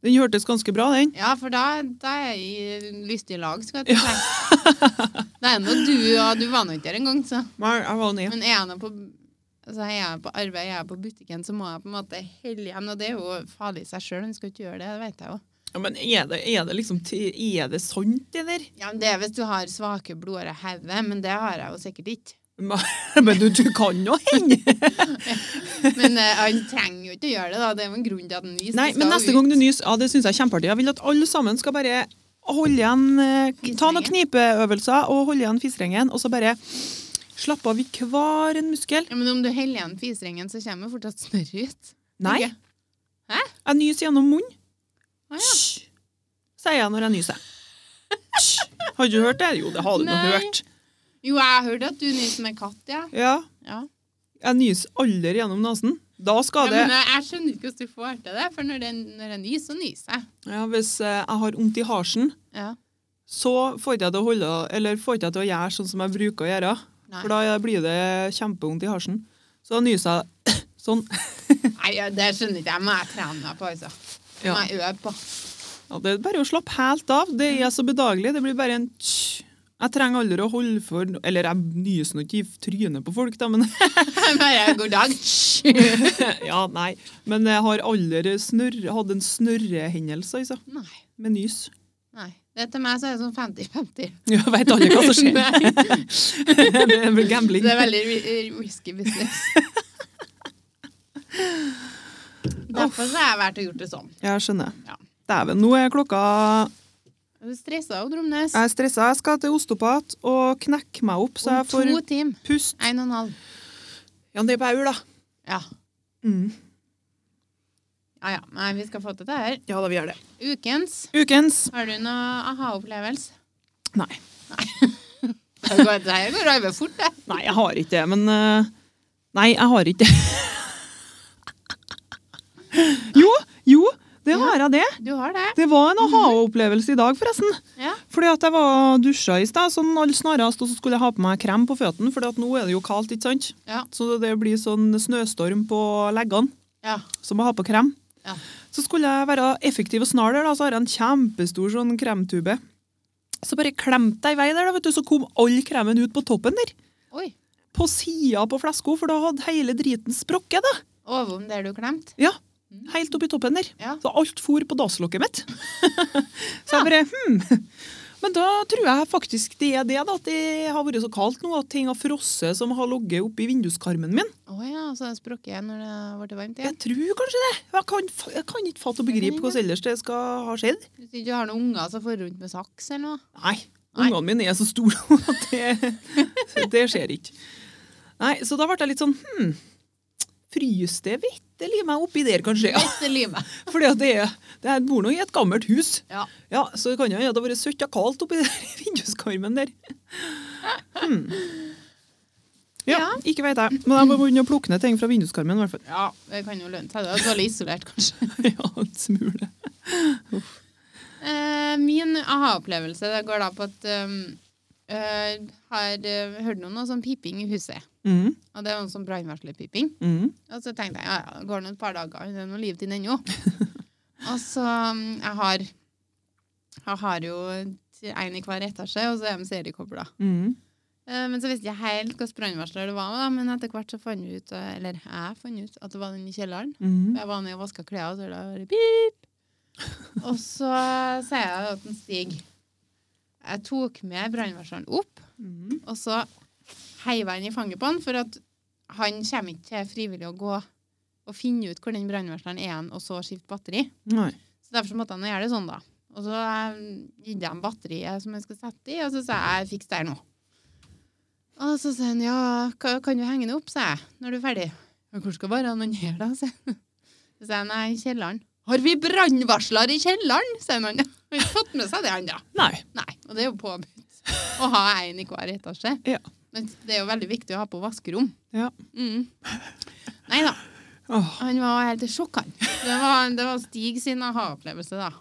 [SPEAKER 2] Den hørtes ganske bra, den.
[SPEAKER 1] Ja, for da, da er jeg i lystig lag, skal jeg til å si. (laughs) Det er nå du, og du var nå ikke der engang, så.
[SPEAKER 2] Nei, jeg var ned.
[SPEAKER 1] Men er jeg nå på, altså, er jeg på arbeid, er jeg på butikken, så må jeg på en måte helle igjen. Og det er jo farlig i seg sjøl, hun skal ikke gjøre det, det vet jeg jo.
[SPEAKER 2] Ja, men er det, er det liksom ti- Er det sant, det (laughs) der?
[SPEAKER 1] Ja, men Det er hvis du har svake blodårer i hodet, men det har jeg jo sikkert ikke.
[SPEAKER 2] Men du, du kan jo hende!
[SPEAKER 1] Men eh, han trenger jo ikke å gjøre det, da. Det er jo en grunn til at han viser
[SPEAKER 2] Nei, men neste gang du nys, ja, det syns jeg er kjempeartig. Jeg vil at alle sammen skal bare holde igjen eh, Ta noen knipeøvelser og holde igjen fiseringen, og så bare slappe av i hver en muskel.
[SPEAKER 1] ja, Men om du heller igjen fiseringen, så kommer jo fortsatt snørret ut.
[SPEAKER 2] Nei.
[SPEAKER 1] Ikke? Hæ?
[SPEAKER 2] Jeg nyser gjennom munnen.
[SPEAKER 1] Å, ja.
[SPEAKER 2] Hysj! Sier jeg når jeg nyser. Hysj! Har du hørt det? Jo, det har du nå
[SPEAKER 1] Nei.
[SPEAKER 2] hørt.
[SPEAKER 1] Jo, jeg hørte at du nyser med katt, ja.
[SPEAKER 2] Ja.
[SPEAKER 1] ja.
[SPEAKER 2] Jeg nyser aldri gjennom nesen. Da skal det
[SPEAKER 1] Ja, men eh, jeg skjønner ikke hvordan du får til det, for når, det, når jeg nyser, så nyser jeg.
[SPEAKER 2] ja, Hvis eh, jeg har vondt i harsen,
[SPEAKER 1] Ja.
[SPEAKER 2] så får jeg til å holde, eller får jeg til å gjøre sånn som jeg bruker å gjøre.
[SPEAKER 1] Nei.
[SPEAKER 2] For da blir det kjempevondt i halsen. Så da nyser jeg (coughs) sånn.
[SPEAKER 1] Nei, ja, det skjønner ikke jeg, men jeg trener meg på, altså.
[SPEAKER 2] Ja.
[SPEAKER 1] Må jeg øve på. (laughs)
[SPEAKER 2] Ja, det er bare å slappe helt av. Det er så bedagelig. Det blir bare en tsj. Jeg trenger aldri å holde for Eller jeg nyser nå ikke i trynet på folk, da, men (laughs)
[SPEAKER 1] Bare god dag.
[SPEAKER 2] Ja, nei. Men jeg har aldri snørr- hatt en snørrehendelse, altså.
[SPEAKER 1] Nei.
[SPEAKER 2] Med (laughs) nys.
[SPEAKER 1] Nei. Det til meg så er det sånn 50-50.
[SPEAKER 2] Ja, veit alle hva som
[SPEAKER 1] (laughs)
[SPEAKER 2] skjer.
[SPEAKER 1] Nei,
[SPEAKER 2] (laughs) det er vel gambling.
[SPEAKER 1] det er veldig ri- risky (laughs) business. Derfor så har jeg valgt å gjort det sånn.
[SPEAKER 2] Jeg skjønner.
[SPEAKER 1] Ja.
[SPEAKER 2] Dæven, nå er klokka
[SPEAKER 1] Er Du stressa jo, Dromnes.
[SPEAKER 2] Jeg er stressa. Jeg skal til osteopat og knekke meg opp, så
[SPEAKER 1] Om
[SPEAKER 2] jeg får
[SPEAKER 1] to timer.
[SPEAKER 2] pust.
[SPEAKER 1] En og en halv.
[SPEAKER 2] Ja, det er bare jul, da.
[SPEAKER 1] Ja.
[SPEAKER 2] Mm.
[SPEAKER 1] Ja, ja. Nei, vi skal få til det her.
[SPEAKER 2] Ja, da vi gjør det.
[SPEAKER 1] Ukens.
[SPEAKER 2] Ukens.
[SPEAKER 1] Har du noe aha-opplevelse?
[SPEAKER 2] Nei.
[SPEAKER 1] Det går, det her går over fort, det.
[SPEAKER 2] Nei, jeg har ikke det, men eh, Nei, jeg har ikke (laughs) det. jo, jo, det har jeg det.
[SPEAKER 1] Du har det.
[SPEAKER 2] Det var en aha-opplevelse i dag, forresten.
[SPEAKER 1] Ja.
[SPEAKER 2] Fordi at jeg var dusja i sted, sånn all snarest, og så skulle jeg ha på meg krem på føttene, for nå er det jo kaldt, ikke sant?
[SPEAKER 1] Ja.
[SPEAKER 2] Så det blir sånn snøstorm på leggene,
[SPEAKER 1] Ja.
[SPEAKER 2] så må jeg ha på krem.
[SPEAKER 1] Ja.
[SPEAKER 2] Så skulle jeg være effektiv og snar der, da, så har jeg en kjempestor sånn kremtube. Så bare klemte jeg i vei der, da, vet du, så kom all kremen ut på toppen der.
[SPEAKER 1] Oi.
[SPEAKER 2] på sida på flaska, for da hadde hele driten sprukket. da.
[SPEAKER 1] Ovom der du klemte?
[SPEAKER 2] Ja, Helt oppi toppen der.
[SPEAKER 1] Mm. Ja.
[SPEAKER 2] Så alt for på dasslokket mitt. (laughs) så jeg bare hm. Men da tror jeg faktisk det er det, da, at det har vært så kaldt nå at ting har frosset som har ligget oppi vinduskarmen min.
[SPEAKER 1] Å ja, så det sprukket igjen når det ble varmt igjen.
[SPEAKER 2] Jeg tror kanskje det. Jeg kan, f- jeg kan ikke fatte og begripe hvordan ellers det skal ha skjedd.
[SPEAKER 1] Hvis du ikke har noen unger som får rundt med saks eller noe.
[SPEAKER 2] Nei.
[SPEAKER 1] Nei.
[SPEAKER 2] Ungene mine er så store (laughs) nå at det, det skjer ikke. Nei, Så da ble jeg litt sånn hm. Fryser det vitterlig meg oppi der, kanskje? Ja. (laughs)
[SPEAKER 1] Beste livet.
[SPEAKER 2] Fordi at det er, det er bor nå i et gammelt hus.
[SPEAKER 1] Ja.
[SPEAKER 2] Ja, Så det kan jo hende det har vært søtt og kaldt oppi (laughs) der vinduskarmen der. Hmm. Ja,
[SPEAKER 1] Ja.
[SPEAKER 2] ikke veit jeg. Men jeg må begynne å plukke ned ting fra vinduskarmen. i hvert fall. (laughs)
[SPEAKER 1] ja, det kan jo lønne seg. Det er dårlig isolert, kanskje.
[SPEAKER 2] Ja, en smule.
[SPEAKER 1] (laughs) Eh, min aha-opplevelse det går da på at um, eh, har eh, hørt noen noe sånn piping i huset.
[SPEAKER 2] Mm,
[SPEAKER 1] Og det var noe sånn brannvarslerpiping.
[SPEAKER 2] mm.
[SPEAKER 1] Og så tenkte jeg ja, ja, det går nå et par dager, det er noe liv til den (laughs) ennå. og så um, jeg har jeg har jo en i hver etasje, og så er de seriekobla.
[SPEAKER 2] Mm.
[SPEAKER 1] Eh, Men så visste jeg helt hvilken brannvarsler det var. med, Da. Men etter hvert så fant vi ut, eh, eller jeg fant ut, at det var den i kjelleren.
[SPEAKER 2] Mm.
[SPEAKER 1] Jeg var nede og vaska klær, og så hørte jeg bare pip. Og så sier jeg at den stiger. Jeg tok med brannvarsleren opp,
[SPEAKER 2] Mm.
[SPEAKER 1] og så heiv jeg den i fanget på han, for at han kommer ikke til frivillig å gå og finne ut hvor den brannvarsleren er, hen, og så skifte batteri.
[SPEAKER 2] Nei.
[SPEAKER 1] Så derfor så måtte han gjøre det sånn, da. Og så eh, gitt han batteriet som jeg skulle sette i, og så sa jeg 'fiks det her nå'. Og så sa han 'ja, ka- kan du henge den opp', sa jeg, 'når du er ferdig'. Men 'Hvor skal varene han (laughs) her, da?' sa jeg. Så sa jeg 'nei, i kjelleren'. 'Har vi brannvarsler i kjelleren?' sa han. (laughs) Han har ikke fått med seg det, han da.
[SPEAKER 2] Nei.
[SPEAKER 1] Nei. Og det er jo påbudt å ha en i hver etasje.
[SPEAKER 2] Ja.
[SPEAKER 1] Men det er jo veldig viktig å ha på vaskerom.
[SPEAKER 2] Ja.
[SPEAKER 1] Mm. Nei da.
[SPEAKER 2] Åh.
[SPEAKER 1] Han var helt i sjokk, han. Det var, det var Stig sin aha-opplevelse, da.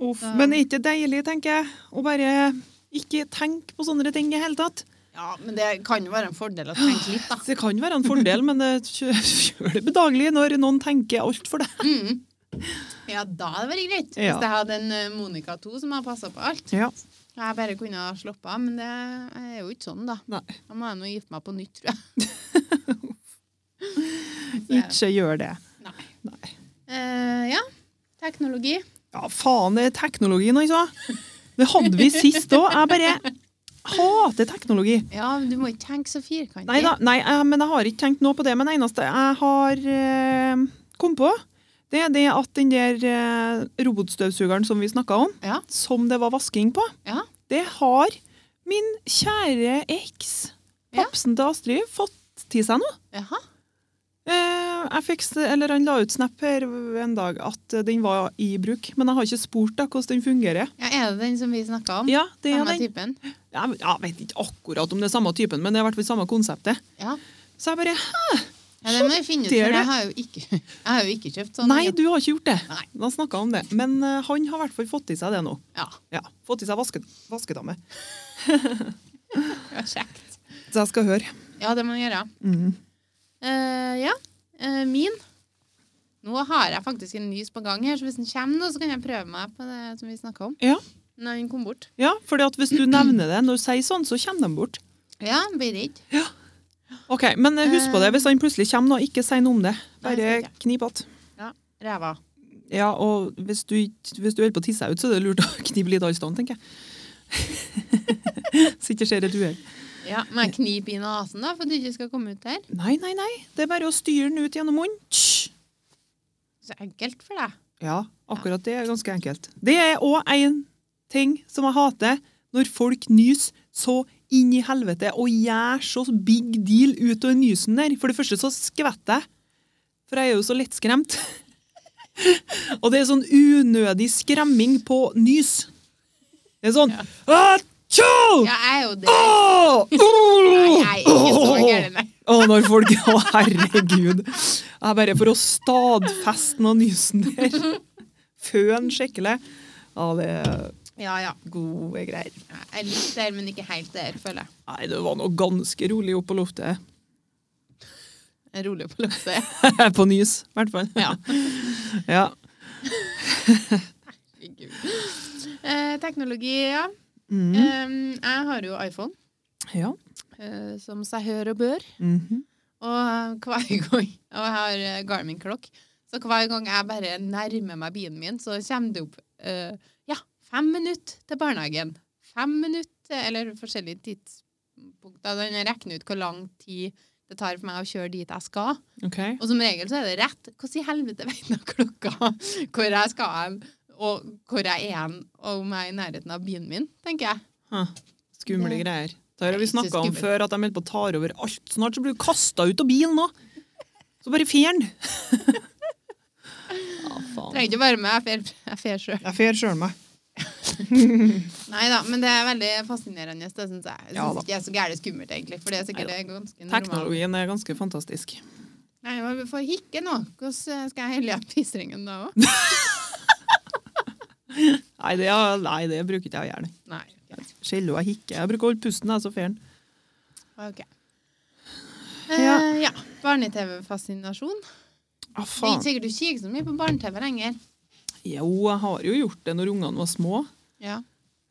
[SPEAKER 2] Uff,
[SPEAKER 1] Da-
[SPEAKER 2] men er ikke det deilig, tenker jeg, å bare ikke tenke på sånne ting i hele tatt?
[SPEAKER 1] Ja, men det kan jo være en fordel å tenke litt, da.
[SPEAKER 2] Det kan være en fordel, men det (laughs) gjør gjør det bedagelig når noen tenker alt for deg.
[SPEAKER 1] Mm. (gasps) Ja, da hadde det vært greit.
[SPEAKER 2] Ja.
[SPEAKER 1] Hvis jeg hadde en eh, Monica 2 som hadde passa på alt.
[SPEAKER 2] Ja.
[SPEAKER 1] Jeg bare kunne ha sluppet av, men det er jo ikke sånn, da.
[SPEAKER 2] Nei.
[SPEAKER 1] Da må jeg nå gifte meg på nytt, tror jeg. Så,
[SPEAKER 2] Ikke gjør det.
[SPEAKER 1] nei.
[SPEAKER 2] Nei.
[SPEAKER 1] Eh, ja. Teknologi.
[SPEAKER 2] Ja, faen, det er teknologien, altså. Det hadde vi sist òg. Jeg bare hater teknologi.
[SPEAKER 1] Ja, du må ikke tenke så firkantig.
[SPEAKER 2] Nei da, nei, eh, men jeg har ikke tenkt noe på det. Men det eneste jeg har eh, kommet på, det er det at den der eh, robotstøvsugeren som vi snakka om,
[SPEAKER 1] Ja.
[SPEAKER 2] som det var vasking på,
[SPEAKER 1] Ja.
[SPEAKER 2] det har min kjære eks,
[SPEAKER 1] Ja.
[SPEAKER 2] papsen til Astrid, fått til seg nå.
[SPEAKER 1] Jaha.
[SPEAKER 2] Eh, jeg fikk, s- eller Han la ut snap her en dag at eh, den var i bruk, men jeg har ikke spurt da hvordan den fungerer.
[SPEAKER 1] Ja, er det den som vi snakka om?
[SPEAKER 2] Ja, det er
[SPEAKER 1] Mm. Samme
[SPEAKER 2] den.
[SPEAKER 1] typen?
[SPEAKER 2] Jeg, jeg vet ikke akkurat om det er samme typen, men det er i hvert fall samme konseptet.
[SPEAKER 1] Ja.
[SPEAKER 2] Så jeg bare
[SPEAKER 1] ja, det må vi finne ut,
[SPEAKER 2] Det er
[SPEAKER 1] for
[SPEAKER 2] det.
[SPEAKER 1] jeg har jo ikke, (laughs) jeg har jo ikke kjøpt sånn.
[SPEAKER 2] Nei, du har ikke gjort det.
[SPEAKER 1] Nei.
[SPEAKER 2] Da snakket jeg om det. Men eh, han har i hvert fall fått i seg det nå.
[SPEAKER 1] Ja,
[SPEAKER 2] Ja, Fått i seg vaske, vaskedame.
[SPEAKER 1] ja kjekt.
[SPEAKER 2] Så jeg skal høre.
[SPEAKER 1] Ja, det må vi gjøre.
[SPEAKER 2] Mm.
[SPEAKER 1] Eh, ja, eh, min. Nå har jeg faktisk en nys på gang her, så hvis den kommer nå, så kan jeg prøve meg på det som vi snakka om.
[SPEAKER 2] Ja.
[SPEAKER 1] Når den kom bort.
[SPEAKER 2] Ja, for hvis du nevner det når du sier sånn, så kommer de bort.
[SPEAKER 1] Ja, blir det ikke.
[SPEAKER 2] Ok, Men eh, husk på det hvis han plutselig kommer nå, ikke si noe om det.
[SPEAKER 1] Nei, jeg
[SPEAKER 2] Bare
[SPEAKER 1] skal
[SPEAKER 2] knip att.
[SPEAKER 1] Ræva.
[SPEAKER 2] Ja, og hvis du, ikke- hvis du holder på å tisse deg ut, så er det lurt å (laughs) knipe litt avstand, tenker jeg. (laughs) så ikke skjer et uhell.
[SPEAKER 1] Ja, Må jeg knipe i nesen, da, for at det ikke skal komme ut der?
[SPEAKER 2] Nei, nei, nei. Det er bare å styre den ut gjennom munnen. Tsj!
[SPEAKER 1] Så enkelt for deg.
[SPEAKER 2] Ja, akkurat det er ganske enkelt. Det er òg en ting som jeg hater, når folk nyser så inn i helvete og gjør så big deal ut av nysen der. For det første så skvetter jeg, for jeg er jo så lettskremt. (laughs) og det er sånn unødig skremming på nys. Det er sånn «Ah!» Atjo!
[SPEAKER 1] Ja, jeg er jo det.
[SPEAKER 2] Åh!
[SPEAKER 1] Nei, jeg er ikke så gæren, nei.
[SPEAKER 2] Å, når folk (laughs) Å, herregud. Jeg bare for å stadfeste noe nysen der. Føn skikkelig. Ja, det er
[SPEAKER 1] Ja, ja.
[SPEAKER 2] gode greier.
[SPEAKER 1] Jeg er litt der, men ikke helt der, føler jeg.
[SPEAKER 2] Nei, det var noe ganske rolig opp på loftet. (laughs)
[SPEAKER 1] jeg er rolig på løpet.
[SPEAKER 2] på nys, i hvert fall.
[SPEAKER 1] Ja.
[SPEAKER 2] (laughs) Ja.
[SPEAKER 1] Eh, teknologi, ja.
[SPEAKER 2] Mm.
[SPEAKER 1] Eh, jeg har jo iPhone,
[SPEAKER 2] ja.
[SPEAKER 1] eh, som seg hør og bør.
[SPEAKER 2] Mhm.
[SPEAKER 1] Og hver (laughs) gang Og jeg har eh, Garmin-klokk. Så hver gang jeg bare nærmer meg bilen min, så kommer det opp eh, Ja, fem minutter til barnehagen. Fem minutter Eller forskjellige tidspunkter. Den regner ut hvor lang tid det tar for meg å kjøre dit jeg skal.
[SPEAKER 2] OK.
[SPEAKER 1] Og som regel så er det rett. Hvordan i helvete vet jeg klokka (laughs) hvor jeg skal hen, og hvor jeg er hen, og om jeg er i nærheten av bilen min, tenker jeg.
[SPEAKER 2] Huh. Skumle
[SPEAKER 1] Det-
[SPEAKER 2] greier. Det her har vi
[SPEAKER 1] Nei, ikke
[SPEAKER 2] snakka om
[SPEAKER 1] skummelt.
[SPEAKER 2] før, at de holder på å ta over alt. Snart så blir du kasta ut av bilen nå. Så bare fer
[SPEAKER 1] (laughs)
[SPEAKER 2] den. Ja, faen.
[SPEAKER 1] Trenger ikke å være med, jeg fer- jeg fer sjøl.
[SPEAKER 2] Jeg fer sjøl meg.
[SPEAKER 1] Nei da, men det er veldig fascinerende, det syns jeg. Jeg
[SPEAKER 2] Ja
[SPEAKER 1] syns
[SPEAKER 2] da.
[SPEAKER 1] ikke det er så gærent skummelt, egentlig. For det er sikkert ganske normalt.
[SPEAKER 2] Teknologien er ganske fantastisk.
[SPEAKER 1] Nei, men vi får hikke nå. Hvordan eh, skal jeg helle igjen pissringen da
[SPEAKER 2] (laughs)
[SPEAKER 1] òg?
[SPEAKER 2] Nei, det, er, nei, det bruker ikke jeg å gjøre.
[SPEAKER 1] Nei.
[SPEAKER 2] Skjelle og jeg hikker. Jeg bruker å holde pusten, jeg, så fer den.
[SPEAKER 1] OK.
[SPEAKER 2] Ja.
[SPEAKER 1] Eh, ja. Barne-TV-fascinasjon. Det
[SPEAKER 2] Ah,
[SPEAKER 1] er
[SPEAKER 2] faen.
[SPEAKER 1] ikke sikkert du kikker så mye på barne-TV lenger.
[SPEAKER 2] Jo, jeg har jo gjort det når ungene var små.
[SPEAKER 1] Ja.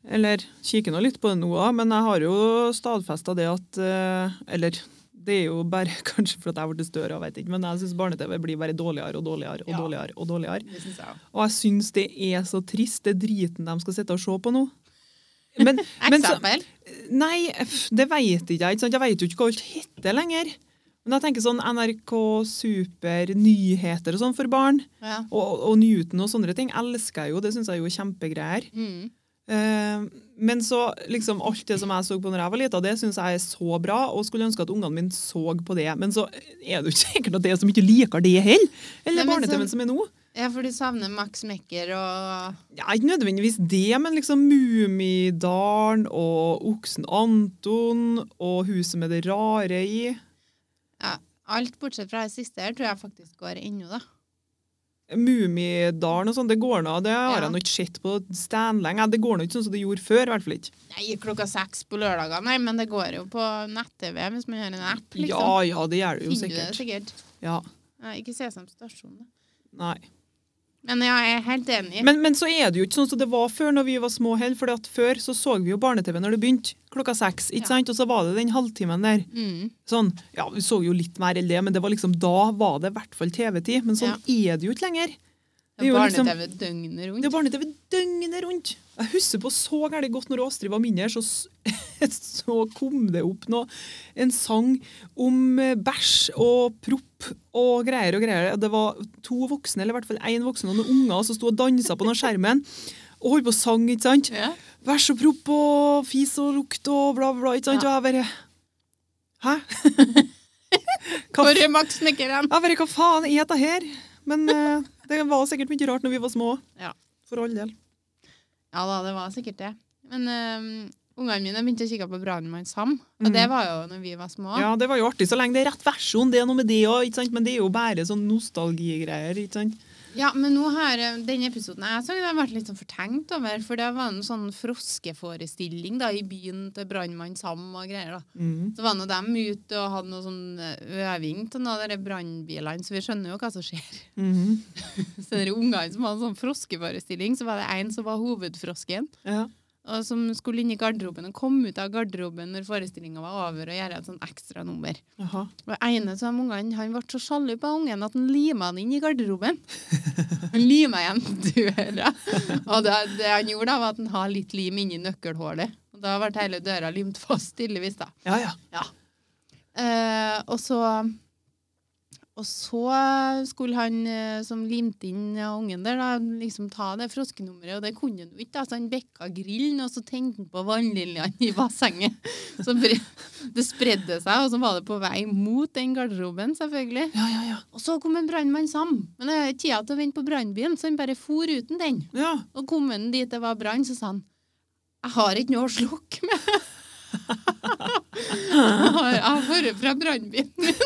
[SPEAKER 2] Eller kikker nå litt på det nå òg, men jeg har jo stadfesta det at eh, Eller det er jo bare (laughs) kanskje for at jeg ble større, jeg vet ikke, men jeg syns barne-TV blir bare dårligere og dårligere og
[SPEAKER 1] Ja.
[SPEAKER 2] dårligere. Og dårligere.
[SPEAKER 1] Det syns jeg òg.
[SPEAKER 2] Og jeg syns det er så trist, det driten de skal sitte og se på nå.
[SPEAKER 1] (laughs)
[SPEAKER 2] Men, men så,
[SPEAKER 1] Eksempel.
[SPEAKER 2] Nei, f- det vet ikke jeg. Ikke sant? Jeg vet jo ikke hva alt heter lenger. Men jeg tenker sånn NRK Super, nyheter og sånn for barn,
[SPEAKER 1] Ja.
[SPEAKER 2] og, og Newton og sånne ting, elsker jeg jo. Det syns jeg jo er kjempegreier.
[SPEAKER 1] Mm.
[SPEAKER 2] Eh, men så liksom alt det som jeg så på når jeg var lita, det syns jeg er så bra, og skulle ønske at ungene mine så på det. Men så er det jo ikke sikkert at det er så mye liker det heller.
[SPEAKER 1] Nei,
[SPEAKER 2] Eller
[SPEAKER 1] men
[SPEAKER 2] barne-TV-en
[SPEAKER 1] sånn-
[SPEAKER 2] som er nå.
[SPEAKER 1] ja, for du savner Max Mekker og
[SPEAKER 2] Ja, ikke nødvendigvis det, men liksom Mummidalen og Oksen Anton og Huset med det rare i.
[SPEAKER 1] ja, Alt bortsett fra det siste her tror jeg faktisk går ennå, da.
[SPEAKER 2] Mummidalen og sånn, det går nå. Det har
[SPEAKER 1] Ja.
[SPEAKER 2] jeg nå ikke sett på standlenge. Det går nå ikke sånn som det gjorde før, i hvert fall ikke.
[SPEAKER 1] Nei, klokka seks på lørdager. Nei, men det går jo på nett-TV hvis man har en app,
[SPEAKER 2] Ja,
[SPEAKER 1] liksom.
[SPEAKER 2] ja, det gjør det jo
[SPEAKER 1] Finner du det
[SPEAKER 2] sikkert.
[SPEAKER 1] sikkert.
[SPEAKER 2] Ja,
[SPEAKER 1] Nei, ikke Sesam Stasjon. da.
[SPEAKER 2] nei.
[SPEAKER 1] Men ja, jeg er helt enig.
[SPEAKER 2] Men, men så er det jo ikke sånn som det var før når vi var små heller. For før så så vi jo barne-TV når det begynte, klokka seks.
[SPEAKER 1] Ja.
[SPEAKER 2] ikke sant? Og så var det den halvtimen der.
[SPEAKER 1] mm.
[SPEAKER 2] Sånn, ja, Vi så jo litt mer enn det, men det var liksom, da var det i hvert fall TV-tid. Men sånn er det jo ikke lenger. Det er jo liksom-
[SPEAKER 1] Barne-TV døgnet rundt.
[SPEAKER 2] Det er barne-TV døgnet rundt. Jeg husker på så gærent godt når Astrid var mindre, så, s- (laughs) så kom det opp noe, en sang om eh, bæsj og propp og greier og greier. Det var to voksne, eller i hvert fall én voksen og noen unger som sto og dansa på den skjermen. Og holdt på å sang, ikke sant?
[SPEAKER 1] Ja.
[SPEAKER 2] Bæsj og propp og fis og lukt og bla, bla, ikke sant?
[SPEAKER 1] Ja.
[SPEAKER 2] Og jeg bare
[SPEAKER 1] (laughs)
[SPEAKER 2] Hæ? Hva
[SPEAKER 1] For Max Snekkeren.
[SPEAKER 2] jeg bare, hva faen er dette her? Men eh, det var sikkert mye rart når vi var små.
[SPEAKER 1] Ja.
[SPEAKER 2] For all del.
[SPEAKER 1] Ja da, det var sikkert det. Men øhm, ungene mine begynte å kikke på Brannmann Sam, og
[SPEAKER 2] Mhm.
[SPEAKER 1] det var jo når vi var små.
[SPEAKER 2] Ja, det var jo artig så lenge det er rett versjon, det er noe med det òg, ikke sant? Men det er jo bare sånn nostalgigreier, ikke sant?
[SPEAKER 1] Ja, men nå har eh, den episoden jeg så, den har vært litt sånn fortenkt over, for det var en sånn froskeforestilling da, i byen til brannmann Sam og greier. da.
[SPEAKER 2] Mm.
[SPEAKER 1] Så var nå dem ute og hadde noe sånn eh, øving til noen av de brannbilene, så vi skjønner jo hva som skjer. (laughs)
[SPEAKER 2] Mhm.
[SPEAKER 1] Så de ungene som hadde sånn froskeforestilling, så var det en som var hovedfrosken,
[SPEAKER 2] ja.
[SPEAKER 1] og som skulle inn i garderoben og kom ut av garderoben når forestillingen var over og gjøre et sånn ekstra nummer.
[SPEAKER 2] Jaha.
[SPEAKER 1] Og ene av de ungene han ble så sjalu på ungen at han lima han inn i garderoben. Han lima igjen døra. Og det, det han gjorde, da, var at han hadde litt lim inni nøkkelhullet. Og da ble hele døra limt fast, tydeligvis. da.
[SPEAKER 2] Ja, ja.
[SPEAKER 1] Eh, og så og så skulle han eh, som limte inn ja, ungen der, da, liksom ta det froskenummeret, og det kunne han jo ikke. da. Så han bekka grillen, og så tente han på vannliljene i bassenget. Så bre (laughs) det spredde seg, og så var det på vei mot den garderoben, selvfølgelig.
[SPEAKER 2] Ja, ja, ja.
[SPEAKER 1] Og så kom en brannmann Sam. Men det er tida til å vente på brannbilen, så han bare for uten den.
[SPEAKER 2] ja.
[SPEAKER 1] Og kom han dit det var brann, så sa han Jeg har ikke noe å slukke med. (laughs) Jeg har- jeg har vært fra brannbilen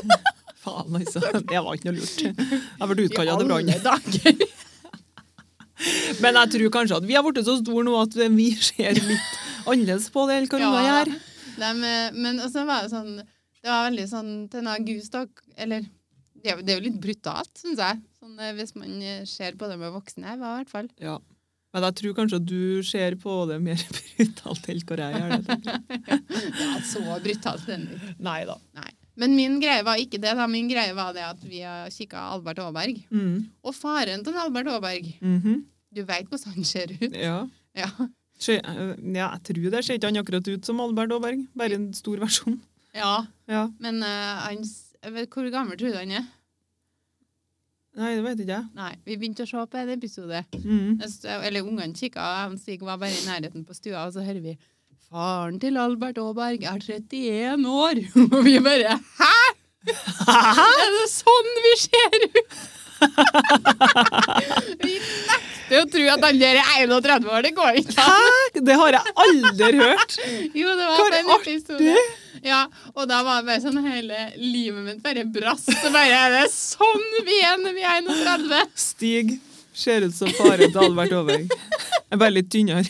[SPEAKER 2] Faen, altså. (laughs) Det var ikke noe lurt. Jeg ble
[SPEAKER 1] i
[SPEAKER 2] utkalla til brann.
[SPEAKER 1] alle dager.
[SPEAKER 2] Men jeg tror kanskje at vi har blitt så store nå at eh, vi ser litt annerledes på det enn hva unger
[SPEAKER 1] Ja.
[SPEAKER 2] gjør.
[SPEAKER 1] Nei, men, men også var det sånn Det var veldig sånn til denne Gustav Eller det er, jo- det er jo litt brutalt, syns jeg. Sånn, eh, hvis man eh, ser på det med voksne. Jeg var i hvert fall
[SPEAKER 2] Ja. Men jeg tror kanskje at du ser på det mer (laughs) brutalt enn hva jeg gjør. det.
[SPEAKER 1] ja, så brutalt. Den.
[SPEAKER 2] Nei da.
[SPEAKER 1] Nei. Men min greie var ikke det. da. Min greie var det at vi har kikka Albert Aaberg.
[SPEAKER 2] Mm.
[SPEAKER 1] Og faren til Albert Aaberg.
[SPEAKER 2] Mhm.
[SPEAKER 1] Du veit hvordan han ser ut. (laughs)
[SPEAKER 2] Ja.
[SPEAKER 1] Ja.
[SPEAKER 2] Skje, eh, ja, jeg tror det ser ikke han akkurat ut som Albert Aaberg, bare en stor versjon.
[SPEAKER 1] ja.
[SPEAKER 2] Ja.
[SPEAKER 1] Men eh, han s- jeg vet, Hvor gammel tror du han er?
[SPEAKER 2] Nei, det vet ikke (laughs) jeg.
[SPEAKER 1] Nei, vi begynte å se på en episode.
[SPEAKER 2] Mhm.
[SPEAKER 1] Jeg s- Eller ungene kikka, og jeg og Stig var bare i nærheten på stua, og så hører vi Faren til Albert Aaberg er 31 år! (laughs) Og vi bare Hæ?! Er det sånn vi ser ut?!
[SPEAKER 2] (laughs)
[SPEAKER 1] vi nekter å tro at han der er 31 år. Det går ikke an!
[SPEAKER 2] Hæ? Det har jeg aldri hørt!
[SPEAKER 1] Jo, det var
[SPEAKER 2] Hvor
[SPEAKER 1] på en
[SPEAKER 2] artig!
[SPEAKER 1] episode. Ja, og da var det bare sånn hele livet mitt bare brast. Det bare er det sånn vi er når vi er 31.
[SPEAKER 2] Stig ser ut som faren til Albert Aaberg. Er bare litt tynnere.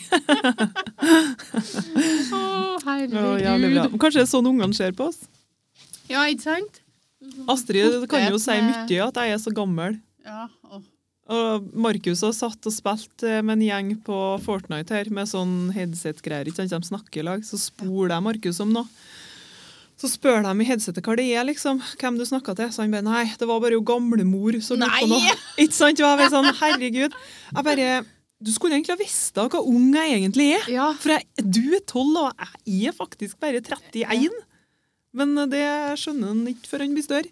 [SPEAKER 1] Å,
[SPEAKER 2] Ja, jævlig bra.
[SPEAKER 1] herregud.
[SPEAKER 2] Men Kanskje det er sånn ungene ser på oss?
[SPEAKER 1] Ja, ikke sant?
[SPEAKER 2] Astrid kan jo si
[SPEAKER 1] Potet med-
[SPEAKER 2] mye at jeg er så gammel.
[SPEAKER 1] Ja, å.
[SPEAKER 2] Og Markus har satt og spilt eh, med en gjeng på Fortnite her, med sånn headset-greier. ikke sant? De snakker i lag. Så spor jeg Markus om noe. Så spør de i headsetet hva det er, liksom. Hvem du snakka til. Så han bare nei, det var bare jo gamlemor som lurte på
[SPEAKER 1] Nei!
[SPEAKER 2] noe. (laughs) Ikke sant? Og jeg bare sånn, herregud. Jeg bare Du skulle egentlig ha visst da hva ung jeg egentlig er.
[SPEAKER 1] ja.
[SPEAKER 2] For jeg, du er tolv, og jeg er faktisk bare 31. Men eh, det skjønner han ikke før han blir større.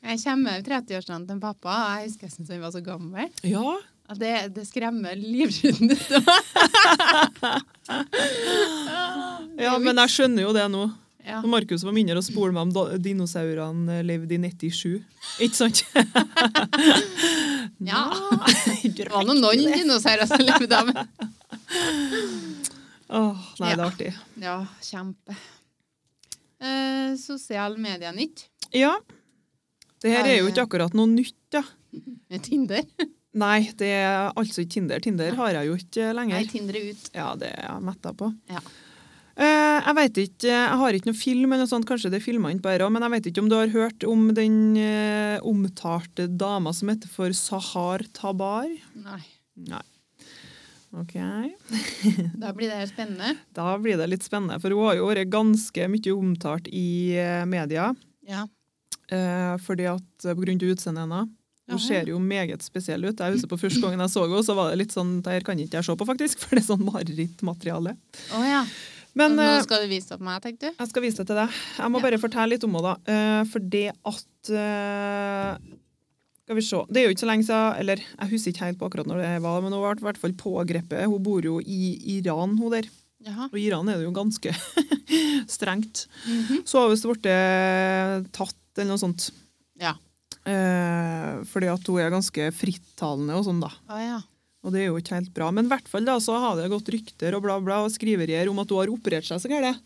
[SPEAKER 1] Jeg kommer over 30-årsdagen til pappa, og jeg husker jeg syntes han var så gammel.
[SPEAKER 2] Ja,
[SPEAKER 1] At det, det skremmer livskiten ut av meg.
[SPEAKER 2] ja men jeg skjønner jo det nå.
[SPEAKER 1] Ja.
[SPEAKER 2] Når Markus var mindre og spurte meg om da- dinosaurene eh, levde i 97. Ikke sant?
[SPEAKER 1] ja.
[SPEAKER 2] Det
[SPEAKER 1] (laughs) Det var nå noen dinosaurer som levde av meg.
[SPEAKER 2] Åh, nei, det er artig.
[SPEAKER 1] Ja, kjempe. Eh, sosiale medier nytt.
[SPEAKER 2] Ja. Det her er jo ikke akkurat noe nytt, da.
[SPEAKER 1] Med Tinder.
[SPEAKER 2] Nei, det er altså ikke Tinder. Tinder har jeg jo ikke eh,
[SPEAKER 1] Nei,
[SPEAKER 2] lenger.
[SPEAKER 1] Tinder er ut.
[SPEAKER 2] Ja, det er jeg metta på.
[SPEAKER 1] Ja.
[SPEAKER 2] Eh, jeg vet ikke, jeg har ikke noen film, eller noe sånt, kanskje det er filmene på her også, men jeg vet ikke om du har hørt om den eh, omtalte dama som heter for Sahar Tabar?
[SPEAKER 1] Nei.
[SPEAKER 2] Nei. Ok.
[SPEAKER 1] Da blir det her spennende.
[SPEAKER 2] Da blir det litt spennende, for hun har jo vært ganske mye omtalt i eh, media.
[SPEAKER 1] Ja.
[SPEAKER 2] Eh, fordi at eh, på grunn til utseendet hennes. Hun
[SPEAKER 1] Jaha.
[SPEAKER 2] ser jo meget spesiell ut. Jeg husker på Første gangen jeg så henne, så var det litt sånn det her kan ikke jeg se på, faktisk. (laughs) For det er sånn marerittmateriale.
[SPEAKER 1] Å ja.
[SPEAKER 2] Men
[SPEAKER 1] nå
[SPEAKER 2] eh,
[SPEAKER 1] skal du vise det på meg, tenkte du?
[SPEAKER 2] jeg skal vise det til deg. Jeg må
[SPEAKER 1] Ja.
[SPEAKER 2] bare fortelle litt om henne, da. Eh, for det at eh, Skal vi se. Det er jo ikke så lenge siden Eller jeg husker ikke helt på akkurat når det var, men hun ble i hvert fall pågrepet. Hun bor jo i Iran, hun der.
[SPEAKER 1] Jaha.
[SPEAKER 2] Og i Iran er det jo ganske (laughs) strengt.
[SPEAKER 1] Mhm.
[SPEAKER 2] Så har hun visst blitt tatt eller noe sånt.
[SPEAKER 1] Ja.
[SPEAKER 2] Eh, fordi at hun er ganske frittalende og sånn, da.
[SPEAKER 1] Å ja.
[SPEAKER 2] Og det er jo ikke helt bra. Men i hvert fall da, så har det gått rykter og bla, bla, og skriverier om at hun har operert seg så gærent.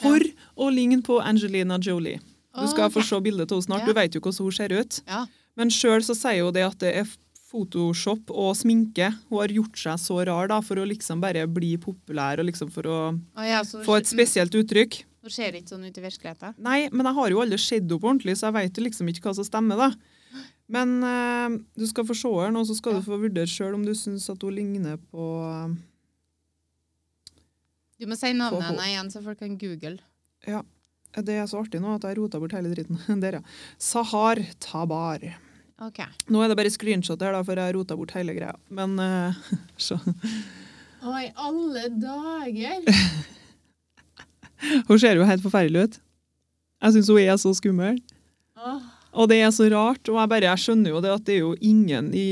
[SPEAKER 2] For å ligne på Angelina Jolie. Du skal få
[SPEAKER 1] Ok.
[SPEAKER 2] se bildet av henne snart.
[SPEAKER 1] Ja.
[SPEAKER 2] Du vet jo hvordan hun ser ut.
[SPEAKER 1] Ja.
[SPEAKER 2] Men sjøl så sier hun det at det er Photoshop og sminke. Hun har gjort seg så rar da, for å liksom bare bli populær og liksom for å
[SPEAKER 1] Å ja, så
[SPEAKER 2] få et spesielt uttrykk.
[SPEAKER 1] Hun ser ikke sånn ut i virkeligheten.
[SPEAKER 2] Nei, men jeg har jo aldri sett henne på ordentlig, så jeg vet jo liksom ikke hva som stemmer. da. Men eh, du skal få se henne, og så skal
[SPEAKER 1] Ja.
[SPEAKER 2] du få vurdere sjøl om du syns at hun ligner på
[SPEAKER 1] Du må si navnet
[SPEAKER 2] Få-
[SPEAKER 1] hennes igjen, så folk kan google.
[SPEAKER 2] eh, Det er så artig nå at jeg rota bort hele dritten. (laughs) Der, ja. Sahar Tabar.
[SPEAKER 1] Ok.
[SPEAKER 2] Nå er det bare screenshot her, da, for jeg rota bort hele greia. Men eh, (laughs) så.
[SPEAKER 1] Å, i alle dager!
[SPEAKER 2] Hun ser jo helt forferdelig ut. Jeg syns hun er så skummel.
[SPEAKER 1] Åh.
[SPEAKER 2] Og det er så rart. Og jeg bare, jeg skjønner jo det at det er jo ingen i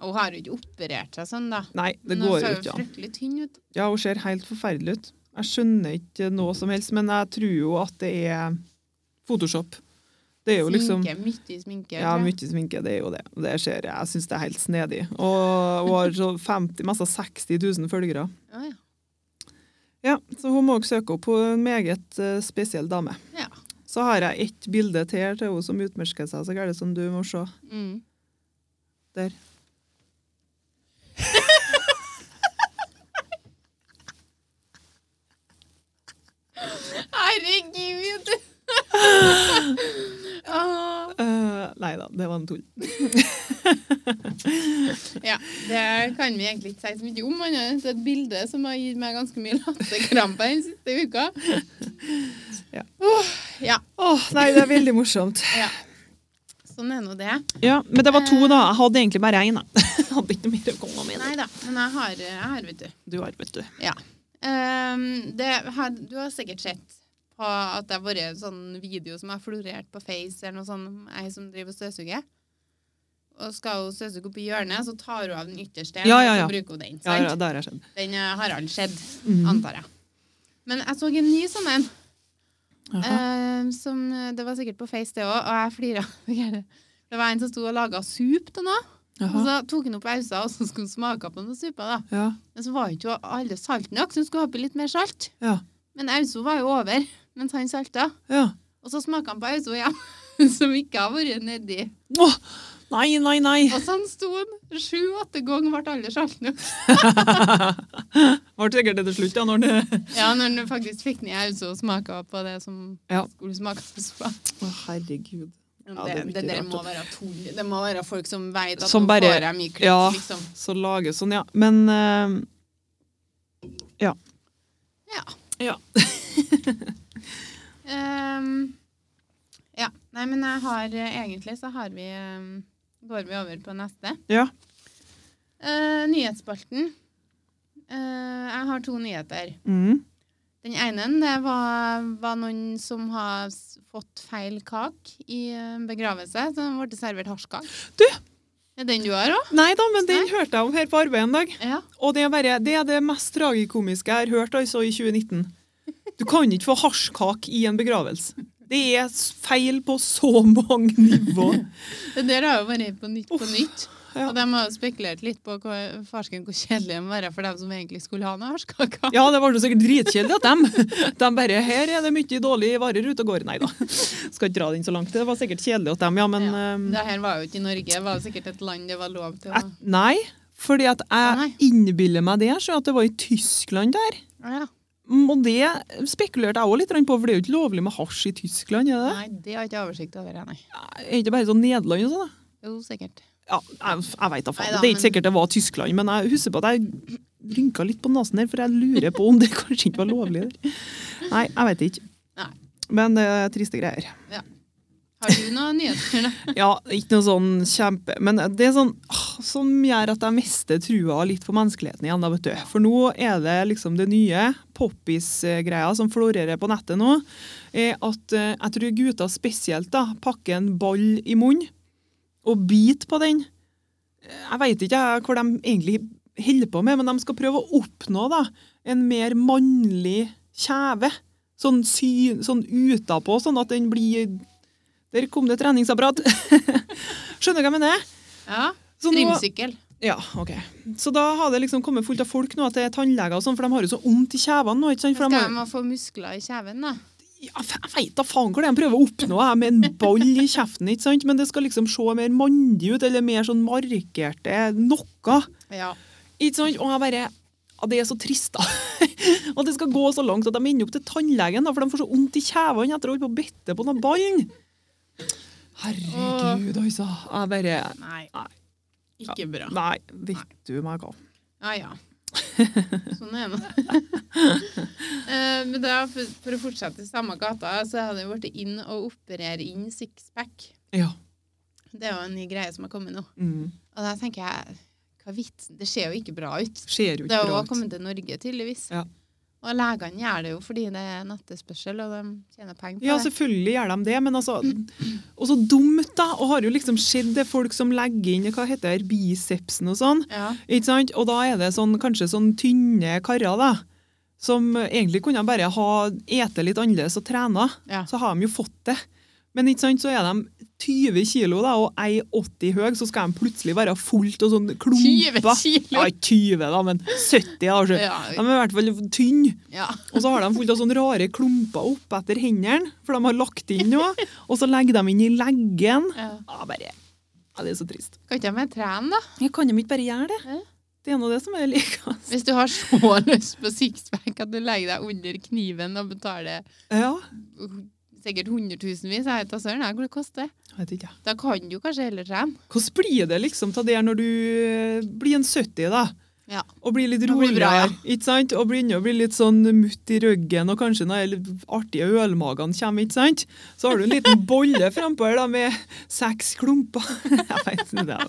[SPEAKER 1] Og Hun har jo ikke operert seg sånn, da.
[SPEAKER 2] Nei, det
[SPEAKER 1] Men
[SPEAKER 2] går
[SPEAKER 1] hun
[SPEAKER 2] jo
[SPEAKER 1] ser
[SPEAKER 2] ikke an.
[SPEAKER 1] fryktelig tynn ut.
[SPEAKER 2] Ja, hun ser helt forferdelig ut. Jeg skjønner ikke noe som helst, men jeg tror jo at det er Photoshop. Det er jo liksom
[SPEAKER 1] Sminke, mye sminke.
[SPEAKER 2] ja,
[SPEAKER 1] tror jeg.
[SPEAKER 2] mye sminke, det er jo det. Det skjer, Jeg syns det er helt snedig. Og hun har så 50, mest av 60 000 følgere.
[SPEAKER 1] Å, ja.
[SPEAKER 2] Ja, så hun må også søke opp. Hun er en meget eh, spesiell dame.
[SPEAKER 1] Ja.
[SPEAKER 2] Så har jeg ett bilde til her til henne som utmerker seg så gærent som du må se.
[SPEAKER 1] Mm.
[SPEAKER 2] Der.
[SPEAKER 1] (laughs) Herregud! Åh.
[SPEAKER 2] Eh, nei da, det var en tull.
[SPEAKER 1] Ja, det kan vi egentlig ikke si så mye om, annet enn at det er et bilde som har gitt meg ganske mye latterkrampe den siste uka.
[SPEAKER 2] Ja.
[SPEAKER 1] Åh, ja,
[SPEAKER 2] Åh, nei, det er veldig morsomt.
[SPEAKER 1] ja. Sånn er nå det.
[SPEAKER 2] (laughs) Ja, Men det var to, da. Jeg hadde egentlig bare én. da. (laughs) Jeg hadde ikke noe mer å komme med.
[SPEAKER 1] Nei da, men jeg har, jeg har vet du.
[SPEAKER 2] Du har, vet du.
[SPEAKER 1] Ja. Ehm, det har, du har sikkert sett på at det har vært en sånn video som har florert på Face, eller noe sånt, om ei som driver og støvsuger. Og skal hun støvsuge oppi hjørnet, så tar hun av den ytterste,
[SPEAKER 2] Ja, ja, ja.
[SPEAKER 1] og så bruker hun den.
[SPEAKER 2] Ja,
[SPEAKER 1] sant?
[SPEAKER 2] ja, Mhm. det har jeg skjønt.
[SPEAKER 1] Den eh, har aldri skjedd, antar jeg. Men jeg så en ny sånn en. eh, som, eh, det var sikkert på Face, det òg, og jeg (laughs) flira. Det var en som sto og laga sup til noe. Og så tok han opp pausa, og så skulle han smake på noen suppa. da.
[SPEAKER 2] Ja,
[SPEAKER 1] Men så var jo ikke alle salt nok, så hun skulle ha på litt mer salt.
[SPEAKER 2] ja,
[SPEAKER 1] Men Auso var jo over mens han salta.
[SPEAKER 2] ja.
[SPEAKER 1] Og så smaka han på Auso igjen, (laughs) som ikke har vært nedi.
[SPEAKER 2] Åh, nei, nei, nei.
[SPEAKER 1] Og sånn sto han sju-åtte ganger, ble alle salt nok.
[SPEAKER 2] Var det sikkert det til slutt, ja. Når det...
[SPEAKER 1] (laughs) Ja, når han faktisk fikk ned Auso og smaka på det som
[SPEAKER 2] Ja.
[SPEAKER 1] skulle smake på suppa.
[SPEAKER 2] Å, herregud.
[SPEAKER 1] Det,
[SPEAKER 2] Ja, det er
[SPEAKER 1] det,
[SPEAKER 2] mye
[SPEAKER 1] der
[SPEAKER 2] rart,
[SPEAKER 1] må være tull. Det må være folk som vet at
[SPEAKER 2] Som
[SPEAKER 1] nå
[SPEAKER 2] bare-
[SPEAKER 1] får jeg mye klipp,
[SPEAKER 2] Ja.
[SPEAKER 1] liksom.
[SPEAKER 2] Så lages sånn, ja. Men eh, ja.
[SPEAKER 1] Ja.
[SPEAKER 2] Ja.
[SPEAKER 1] Ehm, ja. Nei, men jeg har eh, egentlig så har vi eh, Går vi over på neste.
[SPEAKER 2] Ja.
[SPEAKER 1] Eh, nyhetsspalten. Eh, jeg har to nyheter.
[SPEAKER 2] Mm.
[SPEAKER 1] Den ene det var, var noen som har s- fått feil kake i eh, begravelse. Så de ble servert hasjkake.
[SPEAKER 2] Du!
[SPEAKER 1] Er den du har òg?
[SPEAKER 2] Nei da, men den
[SPEAKER 1] Nei.
[SPEAKER 2] hørte jeg om her på arbeid en dag.
[SPEAKER 1] Ja.
[SPEAKER 2] Og det er, bare, det er det mest tragikomiske jeg har hørt altså i 2019. Du kan ikke få hasjkake i en begravelse. Det er s- feil på så mange nivå.
[SPEAKER 1] Det der har jo vært på nytt på
[SPEAKER 2] Uff.
[SPEAKER 1] nytt.
[SPEAKER 2] ja.
[SPEAKER 1] Og de har jo spekulert litt på hvor, farsken, hvor kjedelig de må være for dem som egentlig skulle ha noe årskake.
[SPEAKER 2] Ja, det var jo sikkert dritkjedelig at dem (laughs) De bare Her er det mye dårlige varer ute og går. Nei da. (laughs) Skal ikke dra den så langt. Det var sikkert kjedelig at dem, ja, men ehm,
[SPEAKER 1] Det her var jo ikke i Norge, det var jo sikkert et land det var lov til å
[SPEAKER 2] et, Nei. Fordi at jeg
[SPEAKER 1] Nei.
[SPEAKER 2] innbiller meg det, så at det var i Tyskland der.
[SPEAKER 1] ja.
[SPEAKER 2] Mm, Og det spekulerte jeg òg litt på, for det er jo ikke lovlig med hasj i Tyskland? Er det?
[SPEAKER 1] Nei, det har jeg ikke oversikt over, jeg, nei.
[SPEAKER 2] Er ikke bare sånn Nederland og sånn? da?
[SPEAKER 1] Jo, sikkert.
[SPEAKER 2] Ja, jeg, jeg veit da faen.
[SPEAKER 1] Neida,
[SPEAKER 2] det er
[SPEAKER 1] men-
[SPEAKER 2] ikke sikkert det var Tyskland, men jeg husker på at jeg rynka litt på nesen her, for jeg lurer på om det (laughs) kanskje ikke var lovlig der. Nei, jeg veit ikke.
[SPEAKER 1] Nei.
[SPEAKER 2] Men det er triste greier.
[SPEAKER 1] Har du noen
[SPEAKER 2] (laughs)
[SPEAKER 1] nyheter, da?
[SPEAKER 2] Ja, ikke noe sånn kjempe... Men det er sånn ah, som gjør at jeg mister trua litt på menneskeligheten igjen, da, vet du. For nå er det liksom det nye poppis-greia som florerer på nettet nå, er at eh, jeg tror gutter spesielt da, pakker en ball i munnen og biter på den. Jeg veit ikke jeg, hvor de egentlig holder på med, men de skal prøve å oppnå da, en mer mannlig kjeve. Sånn, sy, sånn utapå, sånn at den blir Der kom det treningsapparat! (laughs) Skjønner du hva jeg mener?
[SPEAKER 1] Ja,
[SPEAKER 2] Så nå-
[SPEAKER 1] Trimsykkel.
[SPEAKER 2] ja, ok. Så da har det liksom kommet fullt av folk nå til tannleger og sånn, for de har jo så vondt i kjevene nå. ikke sant? For
[SPEAKER 1] Skal
[SPEAKER 2] de
[SPEAKER 1] jeg
[SPEAKER 2] har,
[SPEAKER 1] må få muskler i kjeven, da?
[SPEAKER 2] ja, f- jeg veit da faen hva de prøver å oppnå jeg, med en ball i kjeften, ikke sant? men det skal liksom se mer mandig ut, eller mer sånn markerte noe.
[SPEAKER 1] Ja.
[SPEAKER 2] Ikke sant? Og jeg bare ja, Det er så trist, da. (laughs) at det skal gå så langt at de ender opp til tannlegen, da, for de får så vondt i kjevene etter å holde på å bitte på den ballen. Herregud, altså. Jeg bare
[SPEAKER 1] Nei.
[SPEAKER 2] Nei.
[SPEAKER 1] Ikke bra.
[SPEAKER 2] Nei, vet du meg hva.
[SPEAKER 1] Ja,
[SPEAKER 2] (laughs)
[SPEAKER 1] ja. Sånn er det. (laughs) Eh, Men da, for for å fortsette i samme gata, så har det vært inn og operere inn sixpack.
[SPEAKER 2] Ja.
[SPEAKER 1] Det er jo en ny greie som har kommet nå.
[SPEAKER 2] Mm.
[SPEAKER 1] Og da tenker jeg, hva vitsen? Det ser jo ikke bra ut.
[SPEAKER 2] Ser jo
[SPEAKER 1] Det
[SPEAKER 2] ikke
[SPEAKER 1] har jo
[SPEAKER 2] bra
[SPEAKER 1] også
[SPEAKER 2] ut.
[SPEAKER 1] kommet til Norge, tydeligvis.
[SPEAKER 2] Ja.
[SPEAKER 1] Og legene gjør det jo fordi det er en etterspørsel, og de tjener penger på
[SPEAKER 2] Ja,
[SPEAKER 1] det.
[SPEAKER 2] selvfølgelig gjør de det, men altså Og så dumt, da! Og har jo liksom skjedd det folk som legger inn hva heter det, bicepsen og sånn.
[SPEAKER 1] Ja.
[SPEAKER 2] Ikke sant? Og da er det sånn, kanskje sånn tynne karer, da. Som egentlig kunne bare ha ete litt annerledes og trene.
[SPEAKER 1] Ja.
[SPEAKER 2] Så har de jo fått det. Men ikke sant, så er de 20 kilo da, og 1,80 høy, så skal de plutselig være fullt og sånn
[SPEAKER 1] 20
[SPEAKER 2] klumpa. Ja,
[SPEAKER 1] kilo!
[SPEAKER 2] ikke 20 da, men 70 da. altså.
[SPEAKER 1] Ja.
[SPEAKER 2] De er i hvert fall tynne.
[SPEAKER 1] ja.
[SPEAKER 2] Og så har de fullt av sånne rare klumper opp etter hendene, for de har lagt inn noe. Og så legger de inn i leggen.
[SPEAKER 1] ja.
[SPEAKER 2] Ja, bare, ja, det er så trist.
[SPEAKER 1] Kan ikke de trene, da?
[SPEAKER 2] Jeg kan de ikke bare gjøre det?
[SPEAKER 1] Ja.
[SPEAKER 2] Det er nå det som er likest.
[SPEAKER 1] Hvis du har så (laughs) lyst på sixpack at du legger deg under kniven og betaler
[SPEAKER 2] Ja,
[SPEAKER 1] uh, sikkert hundretusenvis, jeg vet da søren jeg, hvor det koster.
[SPEAKER 2] jeg vet ikke.
[SPEAKER 1] Da kan du kanskje heller trene.
[SPEAKER 2] Hvordan blir det liksom til det når du eh, blir en 70 da?
[SPEAKER 1] Ja.
[SPEAKER 2] Og blir litt
[SPEAKER 1] Det blir bra, ja.
[SPEAKER 2] roligere, ikke sant? Og begynner å bli litt sånn mutt i ryggen, og kanskje når de artige ølmagene kommer, ikke sant? Så har du en
[SPEAKER 1] (laughs)
[SPEAKER 2] liten bolle frempå her da, med seks klumper. (laughs) Jeg vet ikke det. Det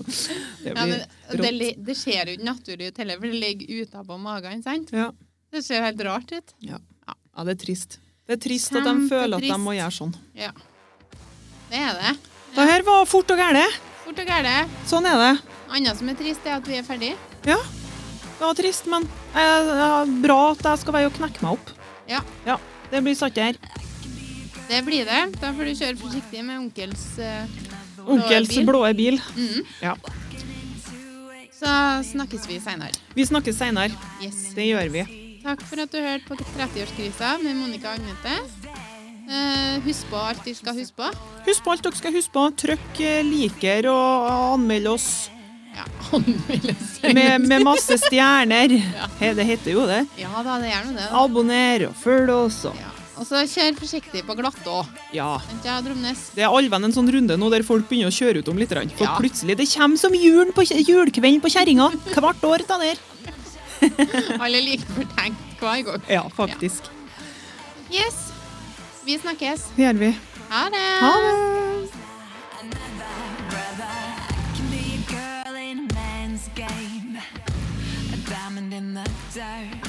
[SPEAKER 1] Ja, men
[SPEAKER 2] blir...
[SPEAKER 1] det, li- det ser jo ikke naturlig ut heller, for det ligger utapå magen, sant?
[SPEAKER 2] Ja.
[SPEAKER 1] Det ser helt rart ut.
[SPEAKER 2] Ja, det er trist. Det er trist at de føler at de må
[SPEAKER 1] Kjempetrist.
[SPEAKER 2] gjøre sånn.
[SPEAKER 1] Ja. Det er det.
[SPEAKER 2] Det her var fort og gæle.
[SPEAKER 1] Fort og gæle.
[SPEAKER 2] Sånn er det.
[SPEAKER 1] Annet som er trist, er at vi er ferdig.
[SPEAKER 2] Ja, det var trist, men eh, det er bra at jeg skal være og knekke meg opp.
[SPEAKER 1] Ja,
[SPEAKER 2] Ja, det blir satt her.
[SPEAKER 1] det blir det. Da får du kjøre forsiktig med onkels eh,
[SPEAKER 2] Onkels
[SPEAKER 1] bil.
[SPEAKER 2] blåe bil.
[SPEAKER 1] Mhm.
[SPEAKER 2] Ja.
[SPEAKER 1] Så snakkes vi seinere.
[SPEAKER 2] Vi snakkes seinere.
[SPEAKER 1] Yes.
[SPEAKER 2] Det gjør vi.
[SPEAKER 1] Takk for at du hørte på 30-årskrisa med Monica og Agnete. Eh, husk på alt du skal huske på.
[SPEAKER 2] Husk på alt dere skal huske på. Trykk eh, liker og anmeld oss
[SPEAKER 1] (laughs) Ja, anmeldes.
[SPEAKER 2] med, med masse stjerner. He, det heter jo det.
[SPEAKER 1] Ja da, det gjør nå det. da.
[SPEAKER 2] Abonner og følg oss. og-
[SPEAKER 1] Ja. Og så kjør forsiktig på glatt òg.
[SPEAKER 2] Ja.
[SPEAKER 1] Vent, ja, (laughs) Dromnes.
[SPEAKER 2] Det er allvenn en sånn runde nå der folk begynner å kjøre ut om litt. grann. For
[SPEAKER 1] Ja.
[SPEAKER 2] plutselig, det kommer som julen på kje- julekvelden på kjerringa. Hvert år ta der.
[SPEAKER 1] Alle er like fortenkt hver gang.
[SPEAKER 2] Ja, faktisk.
[SPEAKER 1] Yes. Vi snakkes.
[SPEAKER 2] Det gjør vi.
[SPEAKER 1] Ha det.
[SPEAKER 2] Ha det.
[SPEAKER 3] Another brother, I can be a girl in a man's game, a diamond in the dirt.